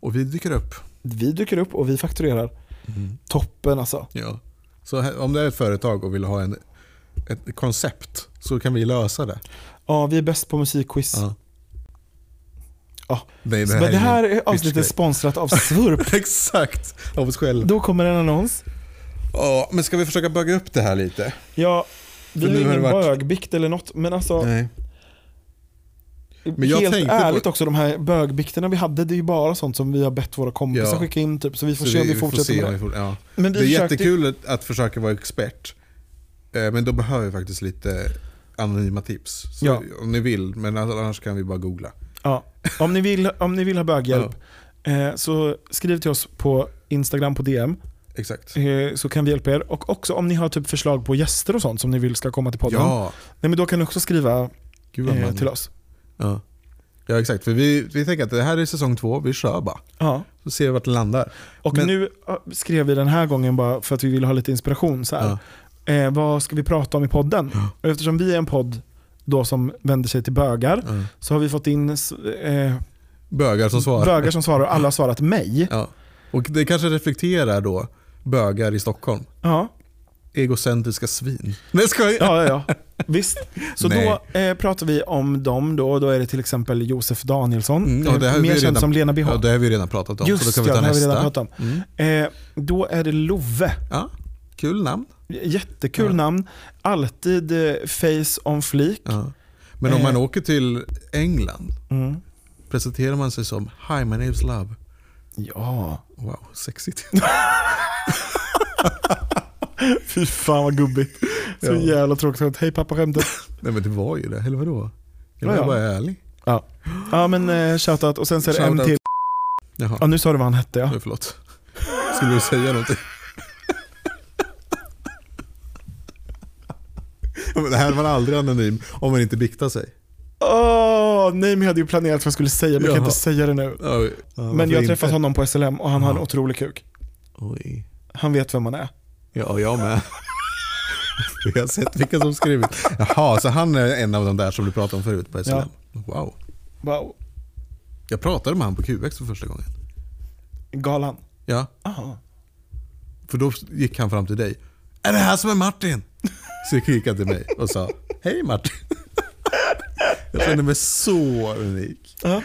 [SPEAKER 2] Och vi dyker upp.
[SPEAKER 1] Vi dyker upp och vi fakturerar.
[SPEAKER 2] Mm.
[SPEAKER 1] Toppen alltså.
[SPEAKER 2] Ja. Så här, om det är ett företag och vill ha en, ett koncept så kan vi lösa det.
[SPEAKER 1] Ja, vi är bäst på musikquiz. Ja.
[SPEAKER 2] Nej,
[SPEAKER 1] Men det här
[SPEAKER 2] ingen
[SPEAKER 1] är avsnittet
[SPEAKER 2] pitchgrej.
[SPEAKER 1] sponsrat av Svurp.
[SPEAKER 2] Exakt, av oss själva.
[SPEAKER 1] Då kommer en annons.
[SPEAKER 2] Ja, men ska vi försöka bugga upp det här lite?
[SPEAKER 1] Ja,
[SPEAKER 2] För
[SPEAKER 1] vi
[SPEAKER 2] nu
[SPEAKER 1] har
[SPEAKER 2] har
[SPEAKER 1] ingen
[SPEAKER 2] det varit-
[SPEAKER 1] bögbikt eller något, men alltså
[SPEAKER 2] Nej. Men jag
[SPEAKER 1] helt
[SPEAKER 2] tänkte på-
[SPEAKER 1] ärligt också, de här bögbikterna vi hade, det är ju bara sånt som vi har bett våra kompisar
[SPEAKER 2] Ja.
[SPEAKER 1] skicka in typ, så vi får se om vi fortsätter med det.
[SPEAKER 2] det. Ja.
[SPEAKER 1] Men vi
[SPEAKER 2] det är
[SPEAKER 1] försökte-
[SPEAKER 2] jättekul att, att försöka vara expert. Eh, Men då behöver vi faktiskt lite anonyma tips. Så
[SPEAKER 1] Ja.
[SPEAKER 2] Om ni vill, men annars kan vi bara googla.
[SPEAKER 1] Ja. Om, ni vill, om ni vill ha böghjälp, eh, så skriv till oss på Instagram på DM,
[SPEAKER 2] Exakt.
[SPEAKER 1] eh, så kan vi hjälpa er. Och också om ni har typ förslag på gäster och sånt som ni vill ska komma till podden,
[SPEAKER 2] Ja,
[SPEAKER 1] Nej, men då kan ni också skriva
[SPEAKER 2] gud vad
[SPEAKER 1] eh,
[SPEAKER 2] man-
[SPEAKER 1] till oss.
[SPEAKER 2] Ja. ja, exakt. För vi, vi tänker att det här är säsong två, vi kör bara.
[SPEAKER 1] Ja.
[SPEAKER 2] Så ser vi vart det landar.
[SPEAKER 1] Och
[SPEAKER 2] Men-
[SPEAKER 1] nu ja, skrev vi den här gången bara för att vi ville ha lite inspiration. Så här. Eh, vad ska vi prata om i podden? Och eftersom vi är en podd då som vänder sig till bögar,
[SPEAKER 2] Ja.
[SPEAKER 1] så har vi fått in s- eh,
[SPEAKER 2] Bögar som svarar.
[SPEAKER 1] bögar som svarar och alla har svarat mig.
[SPEAKER 2] Ja. Och det kanske reflekterar då bögar i Stockholm.
[SPEAKER 1] Ja,
[SPEAKER 2] Egocentriska svin. Nej jag skojar.
[SPEAKER 1] ja, ja. ja. Visst. Så
[SPEAKER 2] Nej.
[SPEAKER 1] då eh, pratar vi om dem då. Då är det till exempel Josef Danielsson. Eh,
[SPEAKER 2] Mm, ja, det här har vi
[SPEAKER 1] mer känd
[SPEAKER 2] redan-
[SPEAKER 1] som Lena BH.
[SPEAKER 2] Ja, det har vi redan pratat om.
[SPEAKER 1] Just
[SPEAKER 2] så då kan vi
[SPEAKER 1] ja,
[SPEAKER 2] ta
[SPEAKER 1] det har vi
[SPEAKER 2] nästa.
[SPEAKER 1] redan pratat om.
[SPEAKER 2] Mm.
[SPEAKER 1] Eh, då är det Love.
[SPEAKER 2] Ja, kul namn.
[SPEAKER 1] Jättekul
[SPEAKER 2] Ja.
[SPEAKER 1] namn. Alltid eh, face on fleek.
[SPEAKER 2] Ja. Men om
[SPEAKER 1] Eh.
[SPEAKER 2] man åker till England,
[SPEAKER 1] Mm.
[SPEAKER 2] presenterar man sig som Hi, my name's Love.
[SPEAKER 1] Ja.
[SPEAKER 2] Wow, sexigt.
[SPEAKER 1] Fy fan vad gubbigt. Så
[SPEAKER 2] Ja.
[SPEAKER 1] jävla tråkigt. Hej pappa skämtet.
[SPEAKER 2] Nej men det var ju det, eller vadå? Jag var
[SPEAKER 1] Ja, ja.
[SPEAKER 2] bara ärlig.
[SPEAKER 1] Ja. ja men eh, shoutout och sen så är det en
[SPEAKER 2] Shoutout.
[SPEAKER 1] till. Ja
[SPEAKER 2] Jaha,
[SPEAKER 1] nu sa du vad han hette ja.
[SPEAKER 2] ja. förlåt. Skulle du säga någonting? Ja, men Det här var aldrig anonym om man inte biktar sig.
[SPEAKER 1] Åh nej men jag hade ju planerat vad jag skulle säga men jag kan
[SPEAKER 2] Jaha.
[SPEAKER 1] inte säga det nu.
[SPEAKER 2] Ja,
[SPEAKER 1] Men
[SPEAKER 2] varför
[SPEAKER 1] jag har
[SPEAKER 2] inte?
[SPEAKER 1] träffat honom på SLM och han har en
[SPEAKER 2] Ja.
[SPEAKER 1] otrolig kuk.
[SPEAKER 2] Oj.
[SPEAKER 1] Han vet vem man är.
[SPEAKER 2] Ja, jag med. Vi har sett vilka som skrivit. Jaha, så han är en av de där som du pratade om förut på SLM.
[SPEAKER 1] Ja.
[SPEAKER 2] Wow.
[SPEAKER 1] Wow.
[SPEAKER 2] Jag pratade med han på QX för första gången.
[SPEAKER 1] Galan.
[SPEAKER 2] Ja,
[SPEAKER 1] Aha.
[SPEAKER 2] för då gick han fram till dig. Är det här som är Martin? Så gick han till mig och sa Hej Martin. Jag kände mig så unik.
[SPEAKER 1] Ja. Mm.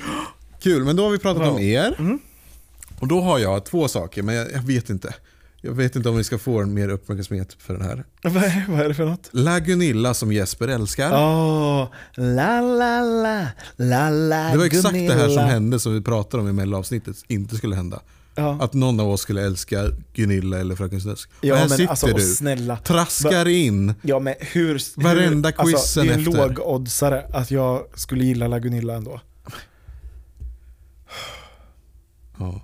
[SPEAKER 2] Kul, men då har vi pratat
[SPEAKER 1] Wow.
[SPEAKER 2] om er. Och då har jag två saker, men jag, jag vet inte. Jag vet inte om vi ska få en mer uppmärksamhet för den här.
[SPEAKER 1] Vad är, vad är det för något?
[SPEAKER 2] Lagunilla som Jesper älskar.
[SPEAKER 1] Åh, la la la, la la
[SPEAKER 2] Det var exakt det här som
[SPEAKER 1] Gunilla.
[SPEAKER 2] hände som vi pratade om i mellanavsnittet inte skulle hända.
[SPEAKER 1] Ja.
[SPEAKER 2] Att någon av oss skulle älska Gunilla eller Fröken Snusk.
[SPEAKER 1] Ja,
[SPEAKER 2] och här
[SPEAKER 1] men
[SPEAKER 2] sitter
[SPEAKER 1] alltså, och
[SPEAKER 2] du,
[SPEAKER 1] snälla.
[SPEAKER 2] traskar in.
[SPEAKER 1] Ja men hur...
[SPEAKER 2] Varenda
[SPEAKER 1] hur, alltså,
[SPEAKER 2] quizen
[SPEAKER 1] Det är en
[SPEAKER 2] efter.
[SPEAKER 1] lågoddsare att jag skulle gilla La Gunilla ändå.
[SPEAKER 2] Ja.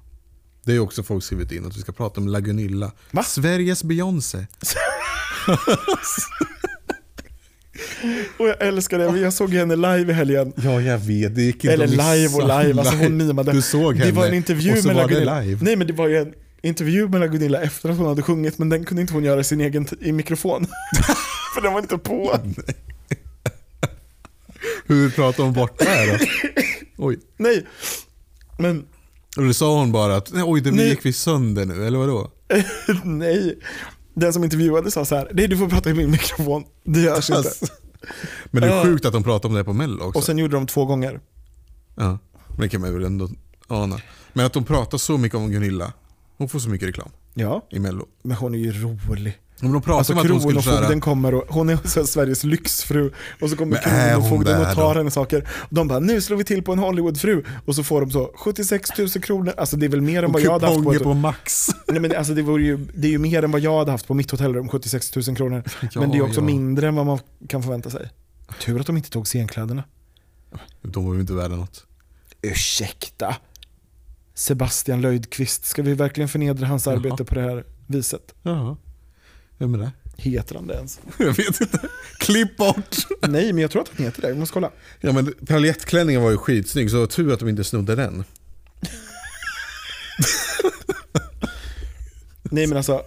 [SPEAKER 2] Det är ju också folk skrivit in att vi ska prata om La Gunilla.
[SPEAKER 1] Va?
[SPEAKER 2] Sveriges Beyoncé.
[SPEAKER 1] Och jag älskar det, men jag såg henne live i helgen.
[SPEAKER 2] Ja, jag vet. Det gick inte
[SPEAKER 1] Eller
[SPEAKER 2] att missa.
[SPEAKER 1] live och live, alltså hon mimade.
[SPEAKER 2] Du såg henne.
[SPEAKER 1] Det var en intervju
[SPEAKER 2] och så
[SPEAKER 1] med La
[SPEAKER 2] var det
[SPEAKER 1] Gunilla.
[SPEAKER 2] live.
[SPEAKER 1] Nej men det var ju en intervju med La Gunilla efter att hon hade sjungit, men den kunde inte hon göra i sin egen t- i mikrofon. För den var inte på.
[SPEAKER 2] Hur pratar hon borta här då? Oj.
[SPEAKER 1] Nej. Men
[SPEAKER 2] Och då sa hon bara att nej, oj, det
[SPEAKER 1] Nej.
[SPEAKER 2] gick vi sönder nu, eller vadå?
[SPEAKER 1] nej. Den som intervjuade sa så här, nej du får prata i min mikrofon. Det görs inte.
[SPEAKER 2] Alltså. Men det är
[SPEAKER 1] Ja.
[SPEAKER 2] sjukt att de pratar om det på Mello också.
[SPEAKER 1] Och sen gjorde de två gånger.
[SPEAKER 2] Ja, men det kan man väl ändå ana. Men att de pratar så mycket om Gunilla. Hon får så mycket reklam
[SPEAKER 1] Ja.
[SPEAKER 2] i Mello.
[SPEAKER 1] Men hon är ju rolig.
[SPEAKER 2] Men de pratar
[SPEAKER 1] Alltså
[SPEAKER 2] om att hon skulle
[SPEAKER 1] kronofogden
[SPEAKER 2] köra...
[SPEAKER 1] kommer och hon är så här Sveriges lyxfru och så kommer
[SPEAKER 2] Men är hon
[SPEAKER 1] kronofogden
[SPEAKER 2] där
[SPEAKER 1] och tar
[SPEAKER 2] då?
[SPEAKER 1] hennes saker. De bara nu slår vi till på en Hollywoodfru och så får de så 76 000 kronor. Alltså det är väl mer än vad jag hade haft på,
[SPEAKER 2] Kuponger
[SPEAKER 1] ett,
[SPEAKER 2] på max.
[SPEAKER 1] Nej, men alltså, det, vore ju, det är ju mer än vad jag hade haft på mitt hotellrum, 76 000 kronor. men det är också
[SPEAKER 2] ja.
[SPEAKER 1] mindre än vad man kan förvänta sig. Tur att de inte tog scenkläderna.
[SPEAKER 2] De var ju inte värda något.
[SPEAKER 1] Ursäkta? Sebastian Löjdqvist, ska vi verkligen förnedra hans
[SPEAKER 2] Jaha.
[SPEAKER 1] arbete på det här viset?
[SPEAKER 2] Ja. Vem är det?
[SPEAKER 1] Heter han det ens?
[SPEAKER 2] Jag vet inte. Klipp bort!
[SPEAKER 1] Nej, men jag tror att han heter det. Vi måste kolla.
[SPEAKER 2] Ja men paljettklänningen var ju skitsnygg, så tur att de inte snodde den.
[SPEAKER 1] Nej men alltså,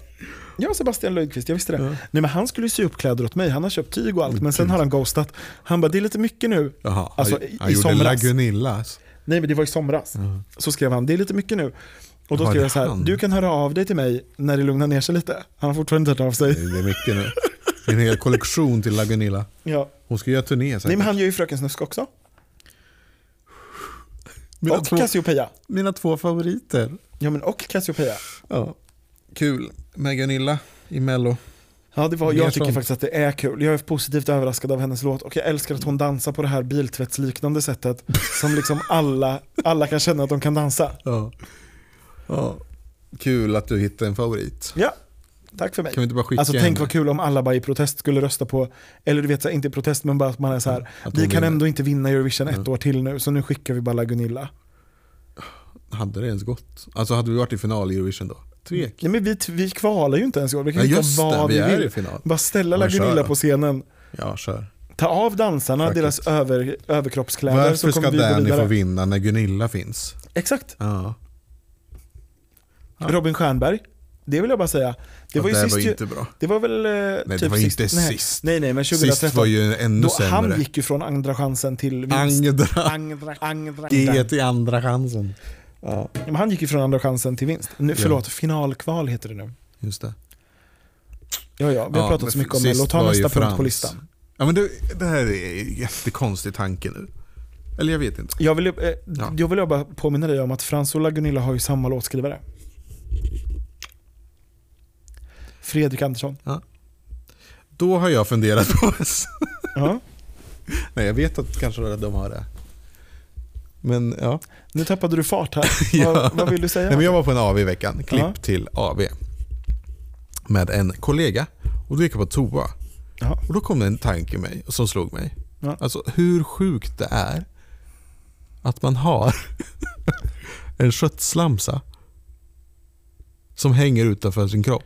[SPEAKER 1] ja Sebastian Löjdqvist, jag visste det. Nej men han skulle ju sy upp kläder åt mig, han har köpt tyg och allt, men sen har han ghostat. Han bara, det är lite mycket nu.
[SPEAKER 2] Jaha,
[SPEAKER 1] alltså
[SPEAKER 2] han,
[SPEAKER 1] i,
[SPEAKER 2] han
[SPEAKER 1] i
[SPEAKER 2] gjorde La
[SPEAKER 1] somras.
[SPEAKER 2] Gunillas.
[SPEAKER 1] Nej men det var i somras. Så skrev han, det är lite mycket nu. Och då
[SPEAKER 2] Jaha,
[SPEAKER 1] skrev
[SPEAKER 2] det
[SPEAKER 1] jag så här,
[SPEAKER 2] han?
[SPEAKER 1] du kan höra av dig till mig när det lugnar ner sig lite. Han har fortfarande inte hört av sig.
[SPEAKER 2] Det är mycket nu. Det är En hel kollektion till La Gunilla.
[SPEAKER 1] Ja.
[SPEAKER 2] Hon ska göra turné säkert.
[SPEAKER 1] Nej men han gör ju Fröken Snusk också.
[SPEAKER 2] mina,
[SPEAKER 1] Och
[SPEAKER 2] två,
[SPEAKER 1] Cassiopeia.
[SPEAKER 2] mina två favoriter.
[SPEAKER 1] Ja men och Cassiopeia.
[SPEAKER 2] Ja. Kul med Gunilla i Mello.
[SPEAKER 1] Ja, det var,
[SPEAKER 2] Mer
[SPEAKER 1] jag tycker
[SPEAKER 2] sånt.
[SPEAKER 1] faktiskt att det är kul. Jag är positivt överraskad av hennes låt och jag älskar att hon dansar på det här biltvättsliknande sättet som liksom alla, alla kan känna att de kan dansa.
[SPEAKER 2] Ja. ja. Kul att du hittade en favorit.
[SPEAKER 1] Ja, tack för mig.
[SPEAKER 2] Kan vi inte bara skicka
[SPEAKER 1] Alltså
[SPEAKER 2] henne?
[SPEAKER 1] tänk vad kul om alla bara i protest skulle rösta på, eller du vet så här, inte i protest men bara att man är så här,
[SPEAKER 2] att
[SPEAKER 1] vi
[SPEAKER 2] hon
[SPEAKER 1] kan
[SPEAKER 2] vinner."
[SPEAKER 1] ändå inte vinna Eurovision ett år till nu så nu skickar vi bara La Gunilla.
[SPEAKER 2] Hade det ens gått? Alltså hade vi varit i final i Eurovision då? Tvek.
[SPEAKER 1] Nej men vi, vi kvalar ju inte ens i år, vi kan
[SPEAKER 2] Ja,
[SPEAKER 1] ju göra
[SPEAKER 2] just det,
[SPEAKER 1] vad
[SPEAKER 2] vi
[SPEAKER 1] vi,
[SPEAKER 2] är
[SPEAKER 1] vill.
[SPEAKER 2] i final.
[SPEAKER 1] Bara ställa La
[SPEAKER 2] Men kör
[SPEAKER 1] Gunilla
[SPEAKER 2] då.
[SPEAKER 1] på scenen,
[SPEAKER 2] Ja, kör.
[SPEAKER 1] ta av dansarna
[SPEAKER 2] Faktiskt.
[SPEAKER 1] deras över, överkroppskläder
[SPEAKER 2] Varför
[SPEAKER 1] så kommer
[SPEAKER 2] ska
[SPEAKER 1] vi gå
[SPEAKER 2] Danny få
[SPEAKER 1] vidare.
[SPEAKER 2] vinna när Gunilla finns?
[SPEAKER 1] Exakt.
[SPEAKER 2] Ja.
[SPEAKER 1] Robin Stjernberg. Det vill jag bara säga. Det
[SPEAKER 2] Ja,
[SPEAKER 1] var ju
[SPEAKER 2] det
[SPEAKER 1] sist
[SPEAKER 2] var
[SPEAKER 1] ju,
[SPEAKER 2] inte bra.
[SPEAKER 1] Det var väl eh,
[SPEAKER 2] det
[SPEAKER 1] typ
[SPEAKER 2] var
[SPEAKER 1] sist.
[SPEAKER 2] inte
[SPEAKER 1] nej.
[SPEAKER 2] sist.
[SPEAKER 1] Nej, nej, men 2013.
[SPEAKER 2] Sist var ju ännu
[SPEAKER 1] då,
[SPEAKER 2] sämre.
[SPEAKER 1] Han gick ju från andra chansen till vinst.
[SPEAKER 2] Angra.
[SPEAKER 1] Andra, andra,
[SPEAKER 2] G till andra chansen. Ja.
[SPEAKER 1] Men han gick ju från andra chansen till vinst. Nu, förlåt, finalkval heter det nu.
[SPEAKER 2] Just det.
[SPEAKER 1] Ja, ja, vi har
[SPEAKER 2] Ja,
[SPEAKER 1] pratat
[SPEAKER 2] men
[SPEAKER 1] så mycket om
[SPEAKER 2] sist
[SPEAKER 1] Mello. Ta
[SPEAKER 2] var
[SPEAKER 1] nästa
[SPEAKER 2] ju
[SPEAKER 1] punkt på
[SPEAKER 2] Frans.
[SPEAKER 1] listan.
[SPEAKER 2] Ja, men det, det här är en jättekonstig tanke nu. Eller jag vet inte.
[SPEAKER 1] Jag vill, ju- eh,
[SPEAKER 2] Ja.
[SPEAKER 1] jag vill jag bara påminna dig om att Frans och Gunilla har ju samma låtskrivare. Fredrik Andersson.
[SPEAKER 2] Då har jag funderat på...
[SPEAKER 1] Ja.
[SPEAKER 2] Nej, jag vet att kanske de har det. Men ja.
[SPEAKER 1] Nu tappade du fart här.
[SPEAKER 2] Ja.
[SPEAKER 1] vad, vad vill du säga?
[SPEAKER 2] Nej, men jag var på en AV i veckan, klipp
[SPEAKER 1] Ja.
[SPEAKER 2] till AV. Med en kollega. Och då gick jag på toa.
[SPEAKER 1] Ja.
[SPEAKER 2] Och då kom det en tanke i mig som slog mig.
[SPEAKER 1] Ja.
[SPEAKER 2] Alltså hur sjukt det är att man har en köttslamsa som hänger utanför sin kropp.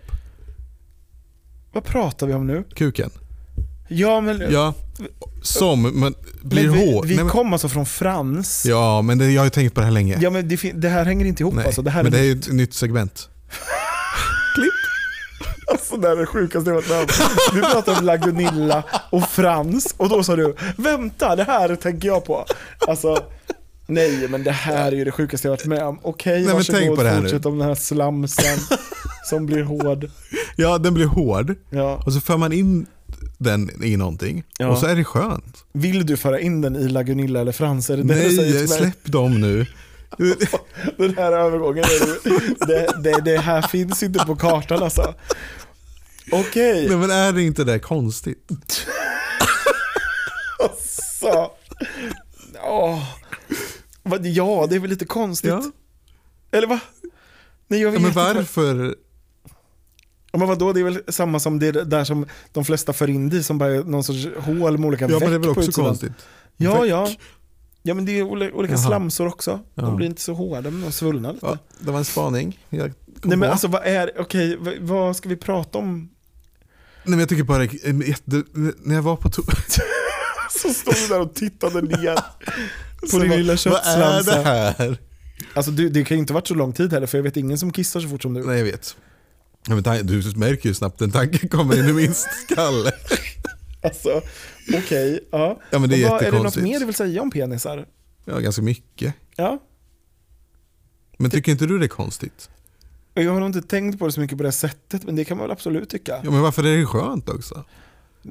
[SPEAKER 1] Vad pratar vi om nu?
[SPEAKER 2] Kuken.
[SPEAKER 1] Ja, men,
[SPEAKER 2] Ja. Som men blir
[SPEAKER 1] men vi,
[SPEAKER 2] hård.
[SPEAKER 1] vi
[SPEAKER 2] Nej, men,
[SPEAKER 1] kom alltså från Frans. Ja,
[SPEAKER 2] ja, men det, jag har ju tänkt på det här länge.
[SPEAKER 1] men det, fin- det här hänger inte ihop
[SPEAKER 2] Nej,
[SPEAKER 1] alltså. Det här
[SPEAKER 2] men
[SPEAKER 1] är
[SPEAKER 2] det är ju ett nytt segment.
[SPEAKER 1] Alltså det här är det sjukaste jag varit med om. Vi pratade om La Gunilla och Frans och då sa du “Vänta, det här tänker jag på”. Alltså, nej men det här är ju det sjukaste jag varit med om. Okej,
[SPEAKER 2] men
[SPEAKER 1] varsågod,
[SPEAKER 2] tänk på det här nu.
[SPEAKER 1] fortsätt om den här slamsen som blir hård.
[SPEAKER 2] Ja, den blir hård.
[SPEAKER 1] Ja.
[SPEAKER 2] Och så för man in den i någonting
[SPEAKER 1] Ja.
[SPEAKER 2] och så är det skönt.
[SPEAKER 1] Vill du föra in den i La Gunilla eller Frans? Är det det du säger
[SPEAKER 2] Nej,
[SPEAKER 1] till mig?
[SPEAKER 2] släpp dem nu.
[SPEAKER 1] Den här övergången, är det, det, det, det här finns inte på kartan alltså. Okej,
[SPEAKER 2] Nej, men är det inte det konstigt?
[SPEAKER 1] alltså. Åh. Vad- Ja, det är väl lite konstigt.
[SPEAKER 2] Ja.
[SPEAKER 1] Eller va? Nej jag
[SPEAKER 2] Ja,
[SPEAKER 1] vet
[SPEAKER 2] men
[SPEAKER 1] inte.
[SPEAKER 2] varför?
[SPEAKER 1] Ja, Men vadå, det är väl samma som det där som de flesta för in det i, som bara är någon sorts hål med olika
[SPEAKER 2] Ja, men det är
[SPEAKER 1] veck
[SPEAKER 2] väl
[SPEAKER 1] på
[SPEAKER 2] också
[SPEAKER 1] utsidan.
[SPEAKER 2] konstigt?
[SPEAKER 1] Ja,
[SPEAKER 2] Veck.
[SPEAKER 1] ja. Ja men det är oli- olika
[SPEAKER 2] Jaha.
[SPEAKER 1] slamsor också.
[SPEAKER 2] Ja.
[SPEAKER 1] De blir inte så hårda men de svullnar lite.
[SPEAKER 2] Ja, det var en spaning. Jag kom
[SPEAKER 1] Nej men
[SPEAKER 2] på.
[SPEAKER 1] alltså vad är, okej vad- vad ska vi prata om?
[SPEAKER 2] Nej, men jag tycker bara det är jätte... När jag var på to-
[SPEAKER 1] Så stod du där och tittade ner på
[SPEAKER 2] Så
[SPEAKER 1] din
[SPEAKER 2] bara,
[SPEAKER 1] lilla
[SPEAKER 2] Vad är det
[SPEAKER 1] köttslamsa.
[SPEAKER 2] här?
[SPEAKER 1] Alltså du, det kan ju inte varit så lång tid heller för jag vet ingen som kissar så fort som du.
[SPEAKER 2] Nej, jag vet. Ja, men tan- du märker ju snabbt en tanke kommer in i min skalle.
[SPEAKER 1] Alltså okej, ja.
[SPEAKER 2] Ja, men det är
[SPEAKER 1] Och vad- Är det något
[SPEAKER 2] jättekonstigt.
[SPEAKER 1] mer du vill säga om penisar?
[SPEAKER 2] Ja, ganska mycket.
[SPEAKER 1] Ja.
[SPEAKER 2] Men tycker inte du det är konstigt?
[SPEAKER 1] Och Jag har nog inte tänkt på det så mycket på det här sättet, men det kan man väl absolut tycka.
[SPEAKER 2] Ja, men varför är det skönt också?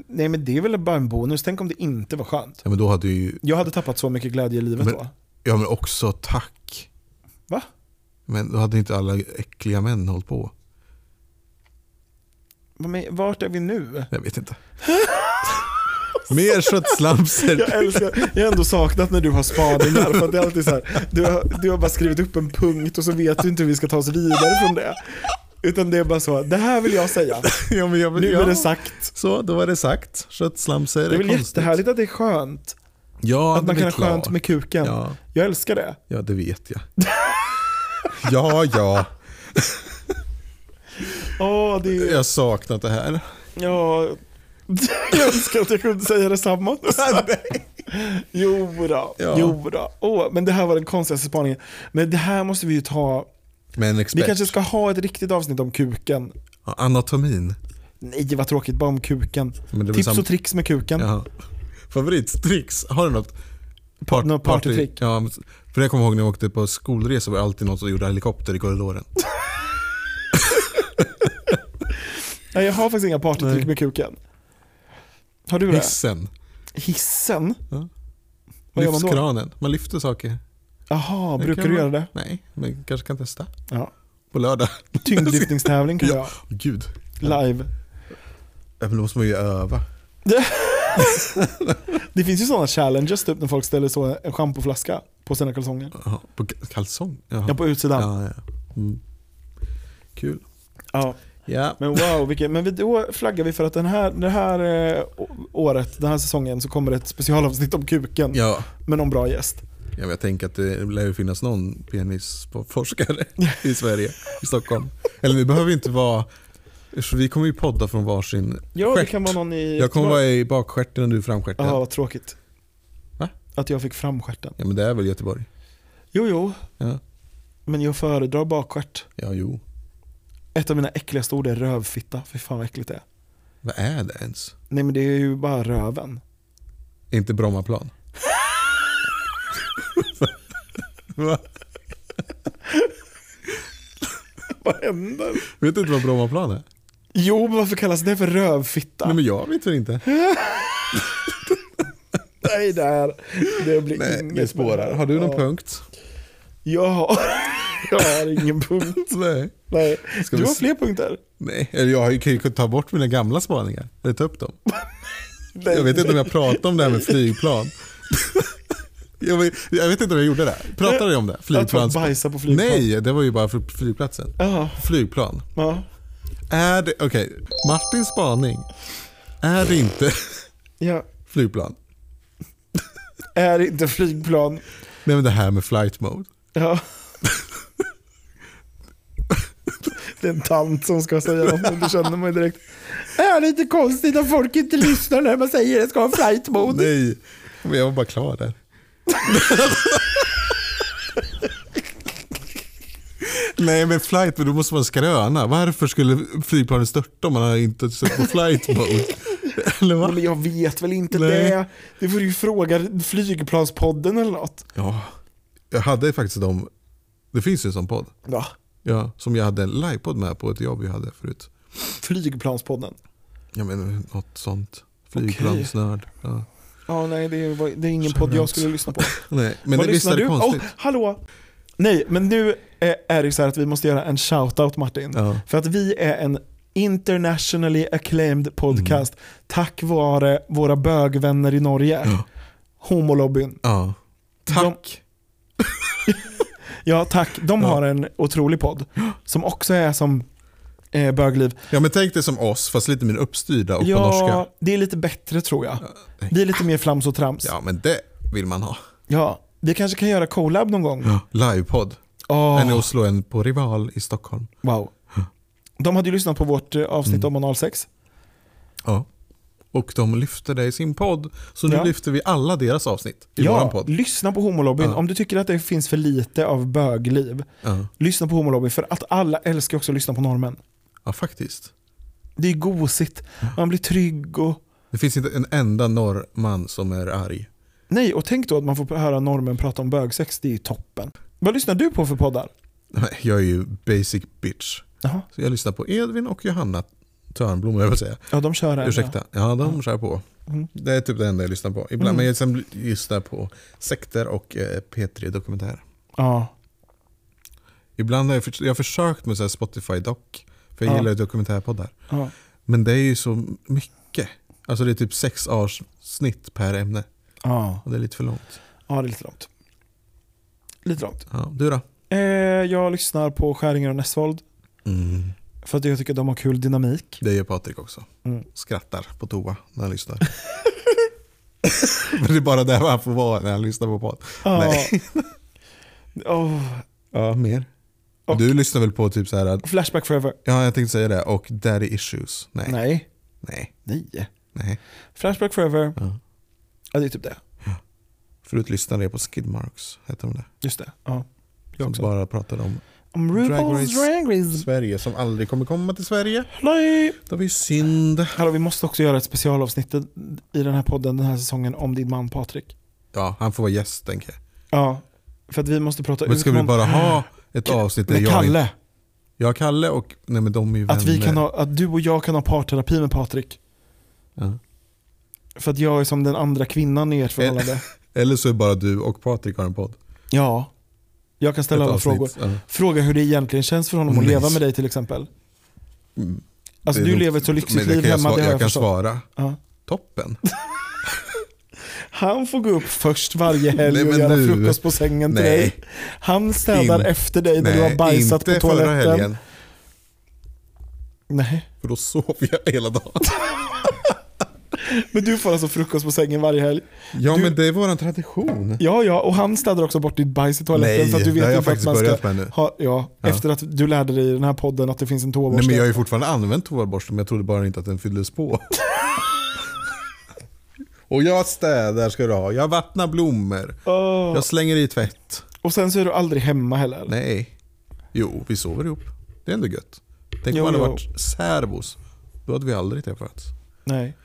[SPEAKER 1] Nej men det är väl bara en bonus, tänk om det inte var skönt.
[SPEAKER 2] Ja, men då hade du ju...
[SPEAKER 1] Jag hade tappat så mycket glädje i livet
[SPEAKER 2] Men-
[SPEAKER 1] då.
[SPEAKER 2] Ja, men också tack.
[SPEAKER 1] Va?
[SPEAKER 2] Men då hade inte alla äckliga män hållit på.
[SPEAKER 1] Vad men- Vart är vi nu?
[SPEAKER 2] Jag vet inte. Mer köttslamsor.
[SPEAKER 1] Jag älskar, jag har ändå saknat när du har spaningar, för att det är alltid så här, du har, du har bara skrivit upp en punkt och så vet du inte hur vi ska ta oss vidare från det. Utan det är bara så, det här vill jag säga.
[SPEAKER 2] Ja, men jag,
[SPEAKER 1] Nu
[SPEAKER 2] ja.
[SPEAKER 1] är det sagt.
[SPEAKER 2] Så, då var det sagt. Köttslamsor
[SPEAKER 1] Det är väl
[SPEAKER 2] konstigt.
[SPEAKER 1] jättehärligt att det är skönt.
[SPEAKER 2] Ja,
[SPEAKER 1] Att man
[SPEAKER 2] det
[SPEAKER 1] kan
[SPEAKER 2] är
[SPEAKER 1] ha skönt
[SPEAKER 2] klart.
[SPEAKER 1] med kuken.
[SPEAKER 2] Ja.
[SPEAKER 1] Jag älskar det.
[SPEAKER 2] Ja, det vet jag. ja, ja.
[SPEAKER 1] Åh, det är...
[SPEAKER 2] Jag har saknat det här.
[SPEAKER 1] Ja, jag önskar att jag kunde säga detsamma. Jo då,
[SPEAKER 2] Ja.
[SPEAKER 1] jo då. Åh, men det här var den konstigaste spaningen. Men det här måste vi ju ta.
[SPEAKER 2] Med en
[SPEAKER 1] Vi
[SPEAKER 2] expert.
[SPEAKER 1] kanske ska ha ett riktigt avsnitt om kuken.
[SPEAKER 2] Ja, Anatomin.
[SPEAKER 1] Nej vad tråkigt, bara om kuken.
[SPEAKER 2] Men det är väl
[SPEAKER 1] Tips
[SPEAKER 2] sam-
[SPEAKER 1] och tricks med kuken.
[SPEAKER 2] Ja. Favorittricks? Har du något? Part,
[SPEAKER 1] något partytrick?
[SPEAKER 2] Ja, men- för jag kommer ihåg när jag åkte på skolresor var det alltid någon som gjorde helikopter i korridoren.
[SPEAKER 1] Nej, jag har faktiskt inga partytrick
[SPEAKER 2] Nej.
[SPEAKER 1] med kuken. Har du det?
[SPEAKER 2] Hissen.
[SPEAKER 1] Hissen?
[SPEAKER 2] Ja.
[SPEAKER 1] Vad gör man då?
[SPEAKER 2] Lyftkranen. Man lyfter saker.
[SPEAKER 1] Jaha,
[SPEAKER 2] Det
[SPEAKER 1] brukar
[SPEAKER 2] kan
[SPEAKER 1] du göra
[SPEAKER 2] man-
[SPEAKER 1] det?
[SPEAKER 2] Nej, men kanske kan testa.
[SPEAKER 1] Ja.
[SPEAKER 2] På lördag.
[SPEAKER 1] Tyngdlyftningstävling kan jag
[SPEAKER 2] Ja. Gud.
[SPEAKER 1] Live.
[SPEAKER 2] Ja, men då måste man ju öva.
[SPEAKER 1] Det finns ju sådana challenges typ när folk ställer så en schampoflaska på sina kalsonger.
[SPEAKER 2] Jaha, På k- kalsong? Jaha.
[SPEAKER 1] Ja, på utsidan.
[SPEAKER 2] Ja, ja. Mm. Kul.
[SPEAKER 1] Ja.
[SPEAKER 2] Ja.
[SPEAKER 1] Men wow, vilket, men vi- då flaggar vi för att den här, det här eh, å- året, den här säsongen så kommer det ett specialavsnitt om kuken
[SPEAKER 2] Ja,
[SPEAKER 1] med någon bra gäst.
[SPEAKER 2] ja, men jag tänker att det lär ju finnas någon penisforskare i Sverige, i Stockholm. Eller vi behöver ju inte vara... så Vi kommer ju podda från varsin
[SPEAKER 1] Ja, det
[SPEAKER 2] stjärt.
[SPEAKER 1] kan vara någon i...
[SPEAKER 2] Jag kommer vara i bakstjärten och du i framstjärten.
[SPEAKER 1] Jaha, vad tråkigt.
[SPEAKER 2] Va?
[SPEAKER 1] Att jag fick fram stjärten.
[SPEAKER 2] Ja, men det är väl Göteborg?
[SPEAKER 1] Jo, jo,
[SPEAKER 2] Ja,
[SPEAKER 1] men jag föredrar bakstjärt.
[SPEAKER 2] ja jo.
[SPEAKER 1] Ett av mina äckligaste ord är rövfitta. Fy fan vad äckligt det är.
[SPEAKER 2] Vad är det ens?
[SPEAKER 1] Nej men det är ju bara röven.
[SPEAKER 2] Inte Brommaplan? Va?
[SPEAKER 1] Vad händer?
[SPEAKER 2] Vet du inte vad Brommaplan är?
[SPEAKER 1] Jo, men varför kallas det för rövfitta?
[SPEAKER 2] Nej men jag vet väl inte.
[SPEAKER 1] Nej, det, här, det blir
[SPEAKER 2] Nej,
[SPEAKER 1] inget
[SPEAKER 2] det spårar. Har du någon
[SPEAKER 1] Ja.
[SPEAKER 2] punkt?
[SPEAKER 1] Jag har, jag har ingen punkt.
[SPEAKER 2] Nej.
[SPEAKER 1] Nej.
[SPEAKER 2] Ska
[SPEAKER 1] Du
[SPEAKER 2] vi
[SPEAKER 1] har
[SPEAKER 2] s-
[SPEAKER 1] fler punkter?
[SPEAKER 2] Nej, eller jag kan ju ta bort mina gamla spaningar. Eller ta upp dem.
[SPEAKER 1] Nej.
[SPEAKER 2] Jag vet inte om jag pratade om det här med flygplan. Jag vet, jag vet inte om jag gjorde det. Pratade jag om det? Flygplan.
[SPEAKER 1] Att man bajsar på flygplan.
[SPEAKER 2] Nej, det var ju bara för flygplatsen.
[SPEAKER 1] Jaha.
[SPEAKER 2] Flygplan.
[SPEAKER 1] Ja.
[SPEAKER 2] Är det, okej, Martins spaning. Är det inte
[SPEAKER 1] ja.
[SPEAKER 2] flygplan?
[SPEAKER 1] Är inte flygplan.
[SPEAKER 2] Nej men det här med flight mode.
[SPEAKER 1] Ja. Det är en tant som ska säga något, men du känner mig direkt. Är det inte konstigt att folk inte lyssnar när man säger det ska ha flight mode?
[SPEAKER 2] Nej, men jag var bara klar där. Nej men flight mode, då måste man skröna. Varför skulle flygplanet störta om man inte sett på flight mode? Eller
[SPEAKER 1] Ja,
[SPEAKER 2] vad?
[SPEAKER 1] Men jag vet väl inte
[SPEAKER 2] Nej.
[SPEAKER 1] det. Det får du ju fråga flygplanspodden eller något.
[SPEAKER 2] Ja, jag hade faktiskt dem. Det finns ju en sån podd.
[SPEAKER 1] Ja.
[SPEAKER 2] Ja, som jag hade en livepodd med på ett jobb jag hade förut.
[SPEAKER 1] Flygplanspodden.
[SPEAKER 2] Ja men något sånt. Flygplansnörd. Ja.
[SPEAKER 1] Ja, nej det är, det är ingen
[SPEAKER 2] Känner
[SPEAKER 1] podd jag
[SPEAKER 2] inte.
[SPEAKER 1] skulle lyssna på.
[SPEAKER 2] Nej, men
[SPEAKER 1] Vad
[SPEAKER 2] det, visst är
[SPEAKER 1] lyssnar
[SPEAKER 2] det
[SPEAKER 1] du?
[SPEAKER 2] konstigt?
[SPEAKER 1] Oh, hallå! Nej, men nu eh, är det så här att vi måste göra en shout-out Martin.
[SPEAKER 2] Ja.
[SPEAKER 1] För att vi är en internationally acclaimed podcast
[SPEAKER 2] Mm.
[SPEAKER 1] tack vare våra bögvänner i Norge. Homolobbyn.
[SPEAKER 2] Ja. Tack.
[SPEAKER 1] Ja, tack. De
[SPEAKER 2] Ja.
[SPEAKER 1] har en otrolig podd som också är som eh, bögliv.
[SPEAKER 2] Ja men tänk dig som oss fast lite mer uppstyrda och på norska.
[SPEAKER 1] Ja, det är lite bättre tror jag.
[SPEAKER 2] nej.
[SPEAKER 1] Vi är lite mer flams och trams. Ja.
[SPEAKER 2] Ja men det vill man ha.
[SPEAKER 1] Vi kanske kan göra collab någon gång.
[SPEAKER 2] Ja. Livepodd.
[SPEAKER 1] Åh.
[SPEAKER 2] En i Oslo en på Rival i Stockholm.
[SPEAKER 1] Wow. De hade ju lyssnat på vårt eh, avsnitt om analsex.
[SPEAKER 2] Ja. Och de lyfter det i sin podd. Så nu
[SPEAKER 1] Ja.
[SPEAKER 2] lyfter vi alla deras avsnitt i våran
[SPEAKER 1] Ja,
[SPEAKER 2] podd.
[SPEAKER 1] lyssna på homolobbyn. Om du tycker att det finns för lite av bögliv,
[SPEAKER 2] Ja.
[SPEAKER 1] lyssna på homolobbyn. För att alla älskar också att lyssna på normen.
[SPEAKER 2] ja faktiskt.
[SPEAKER 1] Det är gosigt, man blir trygg och...
[SPEAKER 2] Det finns inte en enda norrman som är arg.
[SPEAKER 1] Nej, och tänk då att man får höra normen prata om bögsex, det är ju toppen. Vad lyssnar du på för poddar?
[SPEAKER 2] Nej, Jag är ju basic bitch.
[SPEAKER 1] Jaha.
[SPEAKER 2] Så jag lyssnar på Edvin och Johanna Törnblom, jag vill säga.
[SPEAKER 1] Ja, de kör en.
[SPEAKER 2] Ursäkta. Ja, de kör på.
[SPEAKER 1] Mm.
[SPEAKER 2] Det är typ det enda jag lyssnar på. Ibland, Men jag sen lyssnar på sekter och eh, P3 dokumentär.
[SPEAKER 1] Ja.
[SPEAKER 2] Ibland har jag, förs- jag har försökt med så här Spotify doc, för jag
[SPEAKER 1] Ja.
[SPEAKER 2] gillar ju dokumentärpoddar.
[SPEAKER 1] ja.
[SPEAKER 2] Men det är ju så mycket. Alltså det är typ sex års snitt per ämne.
[SPEAKER 1] Ja.
[SPEAKER 2] Och det är lite för långt.
[SPEAKER 1] ja, det är lite långt. Lite långt.
[SPEAKER 2] Ja, du då?
[SPEAKER 1] Eh, jag lyssnar på Skäringer och Nessvold för att jag tycker att de har kul dynamik.
[SPEAKER 2] Det gör Patrik också.
[SPEAKER 1] Mm.
[SPEAKER 2] Skrattar på toa när han lyssnar. Men det är bara där han får vara när han lyssnar på podd.
[SPEAKER 1] Ja.
[SPEAKER 2] Nej.
[SPEAKER 1] Åh,
[SPEAKER 2] Ja, mer.
[SPEAKER 1] Och-
[SPEAKER 2] Du lyssnar väl på typ så här, att-
[SPEAKER 1] Flashback forever.
[SPEAKER 2] ja jag tänkte säga det, och Daddy Issues. Nej. Nej.
[SPEAKER 1] Nej.
[SPEAKER 2] Nej.
[SPEAKER 1] Nej. Flashback forever. Ja, det är typ det.
[SPEAKER 2] Förut lyssnade jag på Skidmarks, heter de det?
[SPEAKER 1] Just det. Ja. Jag
[SPEAKER 2] Som
[SPEAKER 1] också. Mm.
[SPEAKER 2] bara pratade om
[SPEAKER 1] Om
[SPEAKER 2] Drag
[SPEAKER 1] RuPaul's
[SPEAKER 2] Race.
[SPEAKER 1] Drag Race.
[SPEAKER 2] Sverige som aldrig kommer komma till Sverige.
[SPEAKER 1] Nej.
[SPEAKER 2] Det var ju synd.
[SPEAKER 1] Hallå, vi måste också göra ett specialavsnitt i den här podden den här säsongen om din man Patrik.
[SPEAKER 2] Ja, han får vara gäst tänker jag.
[SPEAKER 1] Ja. För att vi måste prata
[SPEAKER 2] Men ska vi
[SPEAKER 1] någon-
[SPEAKER 2] bara ha ett avsnitt där
[SPEAKER 1] Mm. med
[SPEAKER 2] jag,
[SPEAKER 1] Kalle.
[SPEAKER 2] jag, Kalle och, nej men de är ju vänner.
[SPEAKER 1] Att, vi kan ha, att du och jag kan ha parterapi med Patrik.
[SPEAKER 2] Ja.
[SPEAKER 1] För att jag är som den andra kvinnan
[SPEAKER 2] Eh.
[SPEAKER 1] i ert förhållande.
[SPEAKER 2] Eller så är bara du och Patrik har en podd.
[SPEAKER 1] Ja. Jag kan ställa
[SPEAKER 2] Ett
[SPEAKER 1] alla
[SPEAKER 2] avsnitt,
[SPEAKER 1] frågor.
[SPEAKER 2] ja.
[SPEAKER 1] Fråga hur det egentligen känns för honom
[SPEAKER 2] Mm,
[SPEAKER 1] att leva
[SPEAKER 2] nice.
[SPEAKER 1] med dig till exempel.
[SPEAKER 2] Mm.
[SPEAKER 1] Alltså
[SPEAKER 2] Det är
[SPEAKER 1] du
[SPEAKER 2] nog-
[SPEAKER 1] lever ett så lyxigt
[SPEAKER 2] men det
[SPEAKER 1] liv
[SPEAKER 2] kan jag
[SPEAKER 1] hemma,
[SPEAKER 2] svara-
[SPEAKER 1] det har
[SPEAKER 2] Jag,
[SPEAKER 1] jag
[SPEAKER 2] kan
[SPEAKER 1] förstått.
[SPEAKER 2] svara,
[SPEAKER 1] Ja.
[SPEAKER 2] toppen.
[SPEAKER 1] Han får gå upp först varje helg
[SPEAKER 2] Nej,
[SPEAKER 1] och
[SPEAKER 2] men
[SPEAKER 1] göra
[SPEAKER 2] nu-
[SPEAKER 1] frukost på sängen till
[SPEAKER 2] Nej.
[SPEAKER 1] dig. Han städar
[SPEAKER 2] In-
[SPEAKER 1] efter dig när du har bajsat
[SPEAKER 2] inte
[SPEAKER 1] på toaletten.
[SPEAKER 2] förra helgen.
[SPEAKER 1] Nej,
[SPEAKER 2] För då sov jag hela dagen.
[SPEAKER 1] men du får alltså frukost på sängen varje helg.
[SPEAKER 2] Ja
[SPEAKER 1] Du-
[SPEAKER 2] men det är våran tradition.
[SPEAKER 1] Ja, ja, och han städar också bort ditt bajs i toaletten.
[SPEAKER 2] Nej,
[SPEAKER 1] så att du vet
[SPEAKER 2] det har
[SPEAKER 1] inte
[SPEAKER 2] jag
[SPEAKER 1] att
[SPEAKER 2] faktiskt
[SPEAKER 1] man ska
[SPEAKER 2] börjat med nu.
[SPEAKER 1] Ha, ja,
[SPEAKER 2] Ja.
[SPEAKER 1] Efter att du lärde dig i den här podden att det finns en
[SPEAKER 2] Nej
[SPEAKER 1] tåborste.
[SPEAKER 2] men jag har ju fortfarande använt toaborsten men jag trodde bara inte att den fylldes på. och jag städar ska du ha, jag vattnar blommor,
[SPEAKER 1] Åh,
[SPEAKER 2] jag slänger i tvätt.
[SPEAKER 1] Och sen så är du aldrig hemma heller.
[SPEAKER 2] Nej. Jo, vi sover ihop. Det är ändå gött. Tänk
[SPEAKER 1] Jo,
[SPEAKER 2] om man hade
[SPEAKER 1] jo.
[SPEAKER 2] varit särbos. Då hade vi aldrig träffats.
[SPEAKER 1] Nej.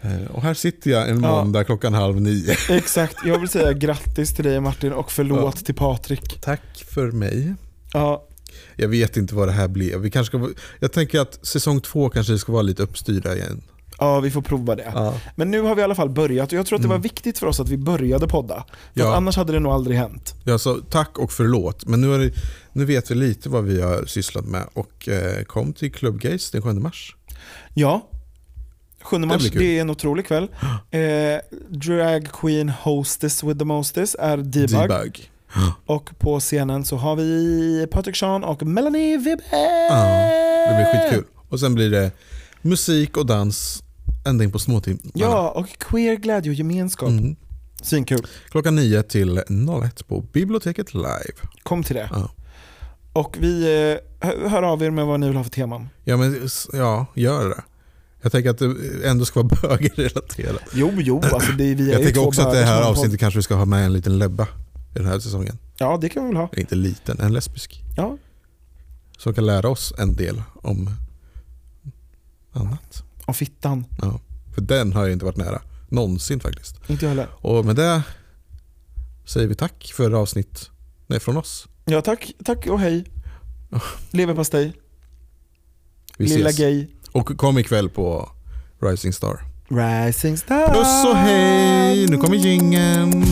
[SPEAKER 2] Eh, Och här sitter jag en
[SPEAKER 1] Ja.
[SPEAKER 2] måndag klockan halv nio.
[SPEAKER 1] Exakt, jag vill säga grattis till dig Martin och förlåt till Patrik.
[SPEAKER 2] Tack för mig.
[SPEAKER 1] Ja,
[SPEAKER 2] Jag vet inte vad det här blev. Vi kanske ska, jag tänker att säsong två kanske ska vara lite uppstyrda igen.
[SPEAKER 1] Ja, vi får prova det.
[SPEAKER 2] Ja.
[SPEAKER 1] Men nu har vi i alla fall börjat och jag tror att det var viktigt för oss att vi började podda. För
[SPEAKER 2] Mm. Ja.
[SPEAKER 1] att annars hade det nog aldrig hänt.
[SPEAKER 2] Jag sa alltså tack och förlåt, men nu, är det, nu vet vi lite vad vi har sysslat med och eh, kom till Club Gays den 7 mars.
[SPEAKER 1] Ja. 7 mars,
[SPEAKER 2] blir
[SPEAKER 1] det,
[SPEAKER 2] kul.
[SPEAKER 1] är en otrolig kväll. Eh, drag queen hostess with the mostess är Debug.
[SPEAKER 2] Debug.
[SPEAKER 1] Och på scenen så har vi Patrik Sean och Melanie Wibbe.
[SPEAKER 2] Ja, det blir skitkul. Och sen blir det musik och dans ända in på småtimmarna.
[SPEAKER 1] Ja, och queer glädje och gemenskap.
[SPEAKER 2] Mm.
[SPEAKER 1] Svinkul.
[SPEAKER 2] Klockan 9 till 01 på biblioteket live.
[SPEAKER 1] Kom till det.
[SPEAKER 2] Ja.
[SPEAKER 1] Och vi eh, hö- hör av er med vad ni vill ha för teman.
[SPEAKER 2] Ja, men s- ja, gör det. Jag tänker att det ändå ska vara bögerrelaterat.
[SPEAKER 1] Jo, jo, alltså det, vi är
[SPEAKER 2] Jag
[SPEAKER 1] ju
[SPEAKER 2] tänker
[SPEAKER 1] två
[SPEAKER 2] också att det
[SPEAKER 1] bögar som
[SPEAKER 2] här
[SPEAKER 1] har en
[SPEAKER 2] avsnittet kanske vi ska ha med en liten lebba i den här säsongen.
[SPEAKER 1] podd. Ja, det kan vi väl ha.
[SPEAKER 2] Eller Inte liten, en lesbisk.
[SPEAKER 1] Ja,
[SPEAKER 2] Som kan lära oss en del om annat.
[SPEAKER 1] och fittan.
[SPEAKER 2] Ja, för den har jag inte varit nära. Någonsin faktiskt.
[SPEAKER 1] Inte jag heller.
[SPEAKER 2] Och med det säger vi tack för avsnitt. Nej, från oss.
[SPEAKER 1] Ja, tack, tack och hej. Leverpastej,
[SPEAKER 2] Vi
[SPEAKER 1] Lilla
[SPEAKER 2] ses.
[SPEAKER 1] Gay,
[SPEAKER 2] Och kom ikväll på Rising Star.
[SPEAKER 1] Rising Star.
[SPEAKER 2] Puss och hej! Nu kommer jingeln.